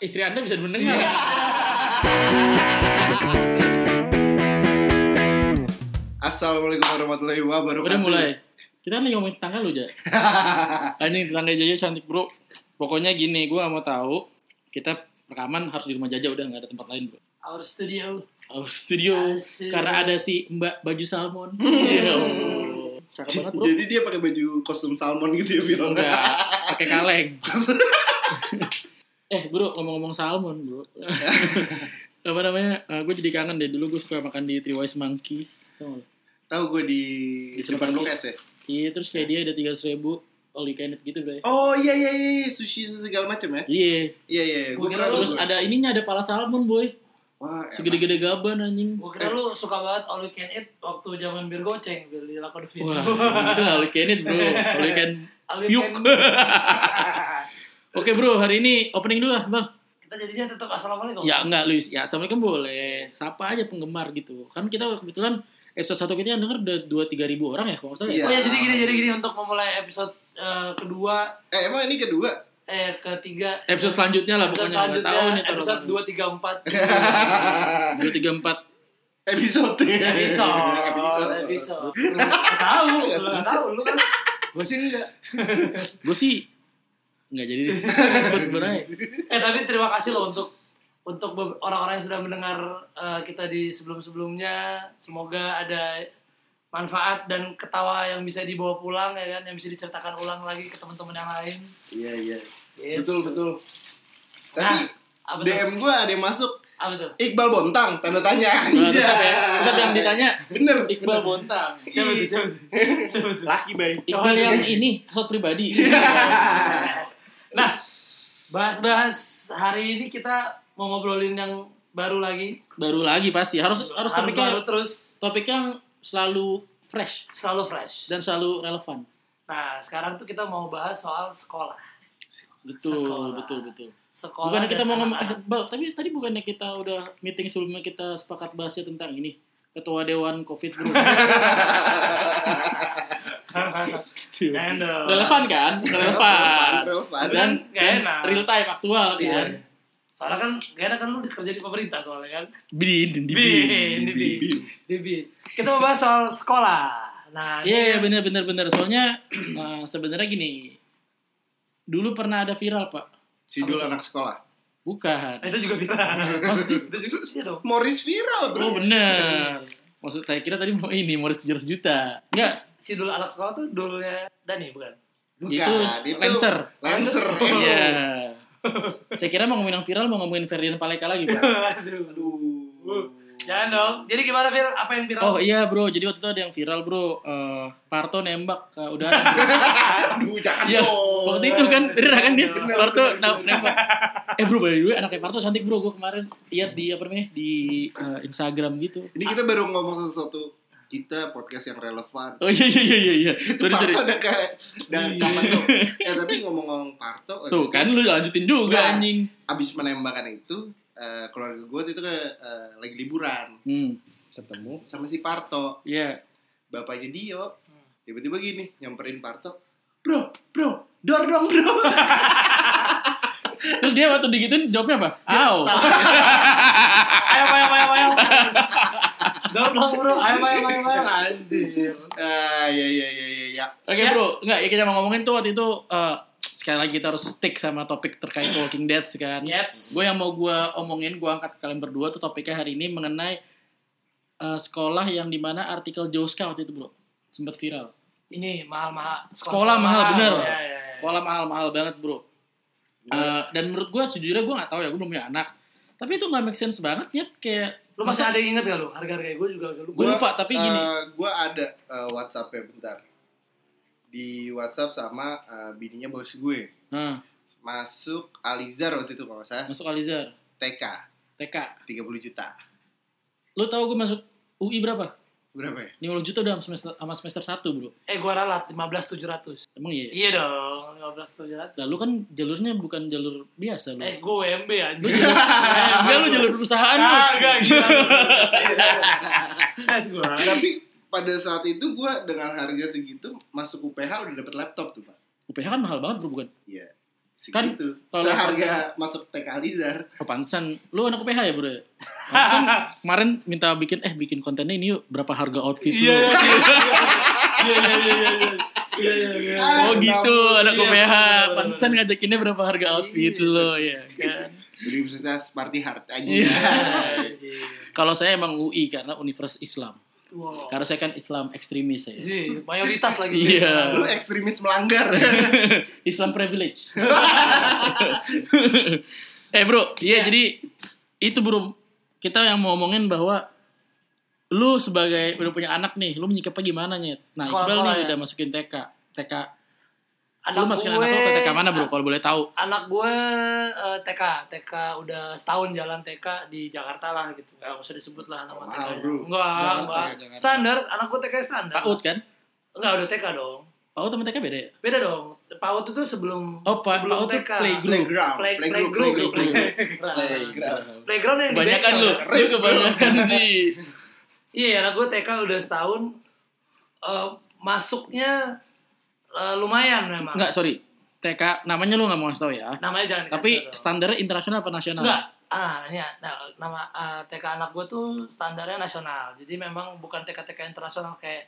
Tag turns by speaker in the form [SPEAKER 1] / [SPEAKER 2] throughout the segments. [SPEAKER 1] istri Anda bisa mendengar.
[SPEAKER 2] Assalamualaikum warahmatullahi wabarakatuh.
[SPEAKER 1] Udah mulai. Kita nih ngomongin tetangga lu, Ja. Anjing tetangga Jaja cantik, Bro. Pokoknya gini, gua gak mau tahu kita rekaman harus di rumah Jaja udah nggak ada tempat lain, Bro.
[SPEAKER 3] Our studio.
[SPEAKER 1] Our studio
[SPEAKER 3] Asik.
[SPEAKER 1] karena ada si Mbak baju salmon. Iya. Allah. Cakep banget, Bro.
[SPEAKER 2] Jadi dia pakai baju kostum salmon gitu ya bilang.
[SPEAKER 1] Enggak, pakai kaleng. eh, Bro, ngomong-ngomong salmon, Bro. apa namanya? gue jadi kangen deh dulu gue suka makan di Three Wise Monkeys. Tau nggak lu?
[SPEAKER 2] Tahu gue di
[SPEAKER 1] Di
[SPEAKER 2] depan
[SPEAKER 1] Selokan.
[SPEAKER 2] Blok S ya?
[SPEAKER 1] Iya, terus
[SPEAKER 3] Eh.
[SPEAKER 1] kayak dia ada tiga ribu all you can eat gitu bro.
[SPEAKER 2] Oh iya iya iya sushi segala macam ya.
[SPEAKER 1] Iya.
[SPEAKER 2] Iya iya iya. gue
[SPEAKER 3] Gua
[SPEAKER 2] pernah
[SPEAKER 3] kira
[SPEAKER 1] Terus
[SPEAKER 2] tuh.
[SPEAKER 1] ada ininya ada pala salmon boy,
[SPEAKER 2] Wah, enak.
[SPEAKER 1] segede-gede gaban anjing.
[SPEAKER 3] Gue kira lu suka banget all you can eat waktu zaman bir goceng bir di lakon video.
[SPEAKER 1] Wah, itu all you can eat bro. All you can.
[SPEAKER 3] All you Ah,
[SPEAKER 1] Yuk. Oke bro, hari ini opening dulu lah bang.
[SPEAKER 3] Kita jadinya tetap assalamualaikum.
[SPEAKER 1] Ya enggak Luis, ya assalamualaikum boleh. Sapa aja penggemar gitu. Kan kita kebetulan episode satu kita yang denger udah dua tiga ribu orang ya kalau nggak salah. ya?
[SPEAKER 2] Iya.
[SPEAKER 3] Oh ya jadi gini jadi gini untuk memulai episode eh, kedua
[SPEAKER 2] Eh emang ini kedua?
[SPEAKER 3] eh ketiga
[SPEAKER 1] Episode selanjutnya lah
[SPEAKER 3] episode
[SPEAKER 1] pokoknya nggak tahu nih
[SPEAKER 3] selanjutnya
[SPEAKER 1] taruh
[SPEAKER 3] episode dua tiga empat
[SPEAKER 1] dua tiga empat.
[SPEAKER 2] Episode.
[SPEAKER 3] episode episode nggak tahu lu nggak tahu lu kan gue sih enggak
[SPEAKER 1] Gue sih nggak jadi. deh. Nah, Buat berai.
[SPEAKER 3] eh tapi terima kasih loh untuk untuk be- orang-orang yang sudah mendengar eh, kita di sebelum-sebelumnya semoga ada manfaat dan ketawa yang bisa dibawa pulang ya kan yang bisa diceritakan ulang lagi ke teman-teman yang lain
[SPEAKER 2] Iya iya.
[SPEAKER 3] Gitu.
[SPEAKER 2] Betul betul. Tapi
[SPEAKER 3] Nah, Ah, apa tuh
[SPEAKER 2] DM gue ada yang masuk
[SPEAKER 3] apa tuh
[SPEAKER 2] Iqbal Bontang tanda tanya
[SPEAKER 3] Iya.
[SPEAKER 1] Nah, tetap ya.
[SPEAKER 2] aja.
[SPEAKER 1] Tetap yang ditanya
[SPEAKER 2] Bener.
[SPEAKER 1] Iqbal Bontang.
[SPEAKER 3] siapa tuh siapa tuh siapa tuh
[SPEAKER 2] Laki Iya. baik.
[SPEAKER 1] Iqbal yang ini pesawat pribadi.
[SPEAKER 2] Iya.
[SPEAKER 3] nah bahas-bahas hari ini kita mau ngobrolin yang baru lagi
[SPEAKER 1] Baru lagi pasti harus harus
[SPEAKER 3] baru
[SPEAKER 1] topiknya ya?
[SPEAKER 3] terus
[SPEAKER 1] topik yang selalu fresh
[SPEAKER 3] selalu fresh
[SPEAKER 1] dan selalu relevan.
[SPEAKER 3] nah sekarang tuh kita mau bahas soal sekolah
[SPEAKER 1] Betul,
[SPEAKER 3] Sekolah.
[SPEAKER 1] betul, betul.
[SPEAKER 3] sekolah
[SPEAKER 1] Bukan kita
[SPEAKER 3] dan
[SPEAKER 1] mau ngomong eh,
[SPEAKER 3] anak-anak.
[SPEAKER 1] Bal, tapi tadi bukannya kita udah meeting sebelumnya kita sepakat bahasnya tentang ini ketua dewan Covid bro. Gitu.
[SPEAKER 3] Jangan dong.
[SPEAKER 1] Relevan kan? Relevan.
[SPEAKER 2] Relevan.
[SPEAKER 1] Dan,
[SPEAKER 3] Tapi kan nggak
[SPEAKER 1] dan
[SPEAKER 3] enak.
[SPEAKER 1] real time aktual
[SPEAKER 2] Iya.
[SPEAKER 1] kan.
[SPEAKER 3] Soalnya kan gak enak kan lu kerja di pemerintah soalnya kan.
[SPEAKER 1] Bin, di
[SPEAKER 3] Bin, di bin.
[SPEAKER 2] Bibi.
[SPEAKER 3] Di bin. Kita mau bahas soal sekolah. Nah,
[SPEAKER 1] Iya, bener bener bener. Soalnya eh, sebenarnya gini, dulu pernah ada viral pak.
[SPEAKER 2] Sidul anak sekolah.
[SPEAKER 1] Bukan.
[SPEAKER 3] nah, itu juga viral.
[SPEAKER 1] Maksud,
[SPEAKER 3] itu juga iya dong.
[SPEAKER 2] Morris viral bro.
[SPEAKER 1] oh bener. Maksud saya kira tadi mau ini mau 700 juta. Enggak.
[SPEAKER 3] Si dulu anak sekolah tuh dulunya Dani bukan?
[SPEAKER 1] itu Lancer.
[SPEAKER 2] Lancer.
[SPEAKER 1] Iya. saya kira mau ngomongin yang viral mau ngomongin Ferdinand Paleka lagi pak.
[SPEAKER 3] Aduh.
[SPEAKER 2] Aduh.
[SPEAKER 3] Jangan dong. Jadi gimana Fir? Apa yang viral?
[SPEAKER 1] Oh iya bro, jadi waktu itu ada yang viral bro, Eh, Parto nembak ke udara. bro.
[SPEAKER 2] Aduh, jangan
[SPEAKER 1] Iya,
[SPEAKER 2] dong.
[SPEAKER 1] waktu itu kan bener kan dia
[SPEAKER 2] Oh. Bener,
[SPEAKER 1] Parto
[SPEAKER 2] bener,
[SPEAKER 1] nam- nembak. Eh bro, by the way, anaknya Parto cantik bro. Gue kemarin lihat di apa namanya di eh, Instagram gitu.
[SPEAKER 2] Ini kita baru ngomong sesuatu kita podcast yang relevan.
[SPEAKER 1] Oh iya iya iya iya, iya. Sorry sorry. Iya.
[SPEAKER 2] Parto udah ke udah kapan tuh? Eh tapi ngomong-ngomong Parto, waktu
[SPEAKER 1] Tuh
[SPEAKER 2] itu,
[SPEAKER 1] kan lu lanjutin juga
[SPEAKER 2] Nah.
[SPEAKER 1] anjing.
[SPEAKER 2] abis menembakkan itu eh, keluarga gue itu ke eh, lagi liburan
[SPEAKER 1] Hmm.
[SPEAKER 2] ketemu sama si Parto
[SPEAKER 1] Iya.
[SPEAKER 2] bapaknya Dio tiba-tiba gini nyamperin Parto bro bro dor dong bro
[SPEAKER 1] Terus dia waktu digituin jawabnya apa? Au.
[SPEAKER 3] Ayo, ayo, ayo, ayo. Dong dong bro, ayo, ayo, ayo, ayo. Anjir.
[SPEAKER 2] ah ya ya ya ya ya
[SPEAKER 1] Oke
[SPEAKER 3] Ya.
[SPEAKER 1] bro, enggak ya kita mau ngomongin tuh waktu itu eh, sekali lagi kita harus stick sama topik terkait Walking Dead sih kan.
[SPEAKER 3] Yeps.
[SPEAKER 1] Gue yang mau gue omongin, gue angkat ke kalian berdua tuh topiknya hari ini mengenai eh, sekolah yang dimana artikel Joska waktu itu bro sempat viral.
[SPEAKER 3] Ini mahal-mahal.
[SPEAKER 1] Sekolah mahal, bener.
[SPEAKER 3] Ya, ya, ya.
[SPEAKER 1] Sekolah mahal-mahal banget bro.
[SPEAKER 2] Iya.
[SPEAKER 1] Eh, dan menurut gue sejujurnya gue nggak tahu ya gue belum punya anak. Tapi itu nggak make sense banget ya kayak
[SPEAKER 3] Lu masih ada yang inget gak lu? Harga-harga gue juga agak lupa.
[SPEAKER 1] Gua lupa, tapi gini.
[SPEAKER 2] gue Eh, ada eh, WhatsApp-nya bentar di WhatsApp sama eh, bininya bos gue
[SPEAKER 1] Nah,
[SPEAKER 2] masuk Alizar waktu itu kalau nggak salah
[SPEAKER 1] masuk Alizar
[SPEAKER 2] TK
[SPEAKER 1] TK.
[SPEAKER 2] 30 juta
[SPEAKER 1] Lu tahu gue masuk UI berapa?
[SPEAKER 2] berapa ya
[SPEAKER 1] 50 juta udah sama semester sama semester 1 bro.
[SPEAKER 3] Eh gue ralat 15.700.
[SPEAKER 1] Emang iya. ya?
[SPEAKER 3] Iya dong, 15.700.
[SPEAKER 1] Lalu kan jalurnya bukan jalur biasa lu.
[SPEAKER 3] Eh gue WMB
[SPEAKER 1] Lu
[SPEAKER 3] anjir.
[SPEAKER 1] jalur, enggak lu jalur perusahaan lu.
[SPEAKER 3] Kagak gila. Tes gue.
[SPEAKER 2] tapi pada saat itu gue dengan harga segitu masuk UPH udah dapet laptop tuh pak
[SPEAKER 1] UPH kan mahal banget bro bukan?
[SPEAKER 2] Iya.
[SPEAKER 1] Kan,
[SPEAKER 2] Segitu.
[SPEAKER 1] kalau- kan.
[SPEAKER 2] Seharga masuk TK Alizar.
[SPEAKER 1] Oh, pantesan. Lu anak UPH ya, bro? Pantesan kemarin minta bikin, eh bikin kontennya ini yuk, berapa harga outfit lu?
[SPEAKER 3] Iya, iya, iya, iya, iya, iya, iya, iya, iya.
[SPEAKER 2] Ah,
[SPEAKER 1] Oh gitu, anak
[SPEAKER 3] Iya,
[SPEAKER 1] UPH.
[SPEAKER 3] bener-bener.
[SPEAKER 1] Pantesan ngajakinnya berapa harga outfit
[SPEAKER 3] Iya.
[SPEAKER 1] lo ya kan.
[SPEAKER 2] Universitas Party Heart aja.
[SPEAKER 1] Iya. Kalau saya emang UI karena Universitas Islam.
[SPEAKER 3] Wow.
[SPEAKER 1] Karena saya kan Islam ekstremis ya.
[SPEAKER 3] Sih, mayoritas lagi.
[SPEAKER 1] Iya.
[SPEAKER 2] Lu ekstremis melanggar.
[SPEAKER 1] Islam privilege. eh bro, iya
[SPEAKER 3] Iya.
[SPEAKER 1] jadi itu bro kita yang mau ngomongin bahwa lu sebagai udah punya anak nih, lu menyikapnya gimana nyet? Nah, Iqbal
[SPEAKER 3] Sekolah-sekolah
[SPEAKER 1] nih
[SPEAKER 3] ya?
[SPEAKER 1] udah masukin TK. TK
[SPEAKER 3] Anak
[SPEAKER 1] lu masukin
[SPEAKER 3] gue,
[SPEAKER 1] anak lu ke TK mana
[SPEAKER 3] Ah.
[SPEAKER 1] bro kalau boleh tahu?
[SPEAKER 3] Anak gue eh, TK, TK udah setahun jalan TK di Jakarta lah gitu. Gak usah disebut lah nama
[SPEAKER 2] Mahal,
[SPEAKER 3] TK. -nya.
[SPEAKER 2] bro.
[SPEAKER 3] Enggak,
[SPEAKER 1] Jakarta,
[SPEAKER 3] enggak.
[SPEAKER 1] Jakarta.
[SPEAKER 3] Standar, anak gue TK standar.
[SPEAKER 1] PAUD kan?
[SPEAKER 3] Enggak, udah TK dong.
[SPEAKER 1] PAUD sama TK beda ya?
[SPEAKER 3] Beda dong. PAUD itu sebelum
[SPEAKER 1] Oh, pa-
[SPEAKER 3] sebelum
[SPEAKER 1] PAUD itu
[SPEAKER 3] TK.
[SPEAKER 1] playgroup.
[SPEAKER 2] Playground.
[SPEAKER 3] Play-
[SPEAKER 2] Playgroup.
[SPEAKER 3] playgroup,
[SPEAKER 2] Playgroup.
[SPEAKER 1] playgroup.
[SPEAKER 3] Playground.
[SPEAKER 2] Playground.
[SPEAKER 3] Playground yang di
[SPEAKER 1] Kebanyakan
[SPEAKER 3] bengkel.
[SPEAKER 1] lu, lu kebanyakan sih.
[SPEAKER 3] Iya, anak gue TK udah setahun. Eh, masuknya eh, lumayan memang.
[SPEAKER 1] Enggak, sorry. TK namanya lu nggak mau ngasih tau ya.
[SPEAKER 3] Namanya jangan dikasih
[SPEAKER 1] Tapi
[SPEAKER 3] tau.
[SPEAKER 1] standarnya internasional apa nasional?
[SPEAKER 3] Enggak. Ah, ini ya. Nah, nama eh, TK anak gue tuh standarnya nasional. Jadi memang bukan TK-TK internasional kayak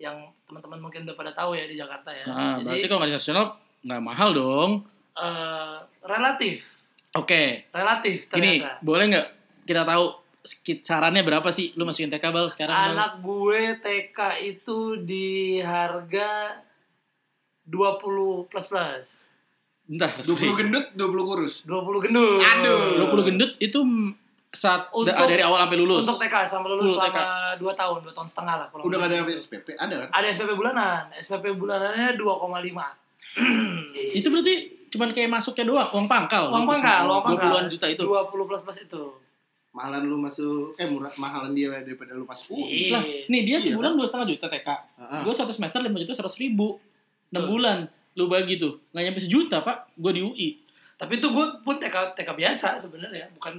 [SPEAKER 3] yang teman-teman mungkin udah pada tahu ya di Jakarta ya.
[SPEAKER 1] Nah, berarti
[SPEAKER 3] Jadi
[SPEAKER 1] kalau nggak nasional nggak mahal dong.
[SPEAKER 3] eh, relatif,
[SPEAKER 1] Oke,
[SPEAKER 3] relatif
[SPEAKER 1] gini
[SPEAKER 3] ternyata.
[SPEAKER 1] boleh nggak kita tahu sekit- sarannya berapa sih lu masukin TK bal sekarang? Bal?
[SPEAKER 3] Anak gue TK itu di harga 20 plus plus.
[SPEAKER 1] Bentar,
[SPEAKER 2] 20
[SPEAKER 1] sorry.
[SPEAKER 2] gendut, 20 kurus.
[SPEAKER 3] 20 gendut.
[SPEAKER 2] Aduh.
[SPEAKER 1] 20 gendut itu m- saat
[SPEAKER 3] Untuk-
[SPEAKER 1] da- dari awal sampai lulus.
[SPEAKER 3] Untuk TK sampai lulus
[SPEAKER 1] Full TK.
[SPEAKER 3] selama 2 tahun, 2 tahun setengah lah. kurang
[SPEAKER 2] Udah gak
[SPEAKER 3] lebih.
[SPEAKER 2] ada SPP, ada kan?
[SPEAKER 3] Ada SPP bulanan. SPP bulanannya 2,5.
[SPEAKER 1] Itu berarti cuman kayak masuknya doang, uang pangkal.
[SPEAKER 3] Uang pangkal, uang pangkal.
[SPEAKER 1] 20-an juta itu.
[SPEAKER 3] 20 plus plus itu.
[SPEAKER 2] Mahalan lu masuk, eh murah, mahalan dia daripada lu masuk UI.
[SPEAKER 3] Iya.
[SPEAKER 1] Lah, nih dia
[SPEAKER 2] Iya,
[SPEAKER 1] sebulan dua setengah juta TK.
[SPEAKER 2] Heeh.
[SPEAKER 1] Gue satu semester lima juta seratus ribu. Enam
[SPEAKER 3] Betul.
[SPEAKER 1] bulan lu bagi tuh nggak nyampe sejuta pak gue di UI
[SPEAKER 3] Tapi itu gue pun TK TK biasa sebenarnya, bukan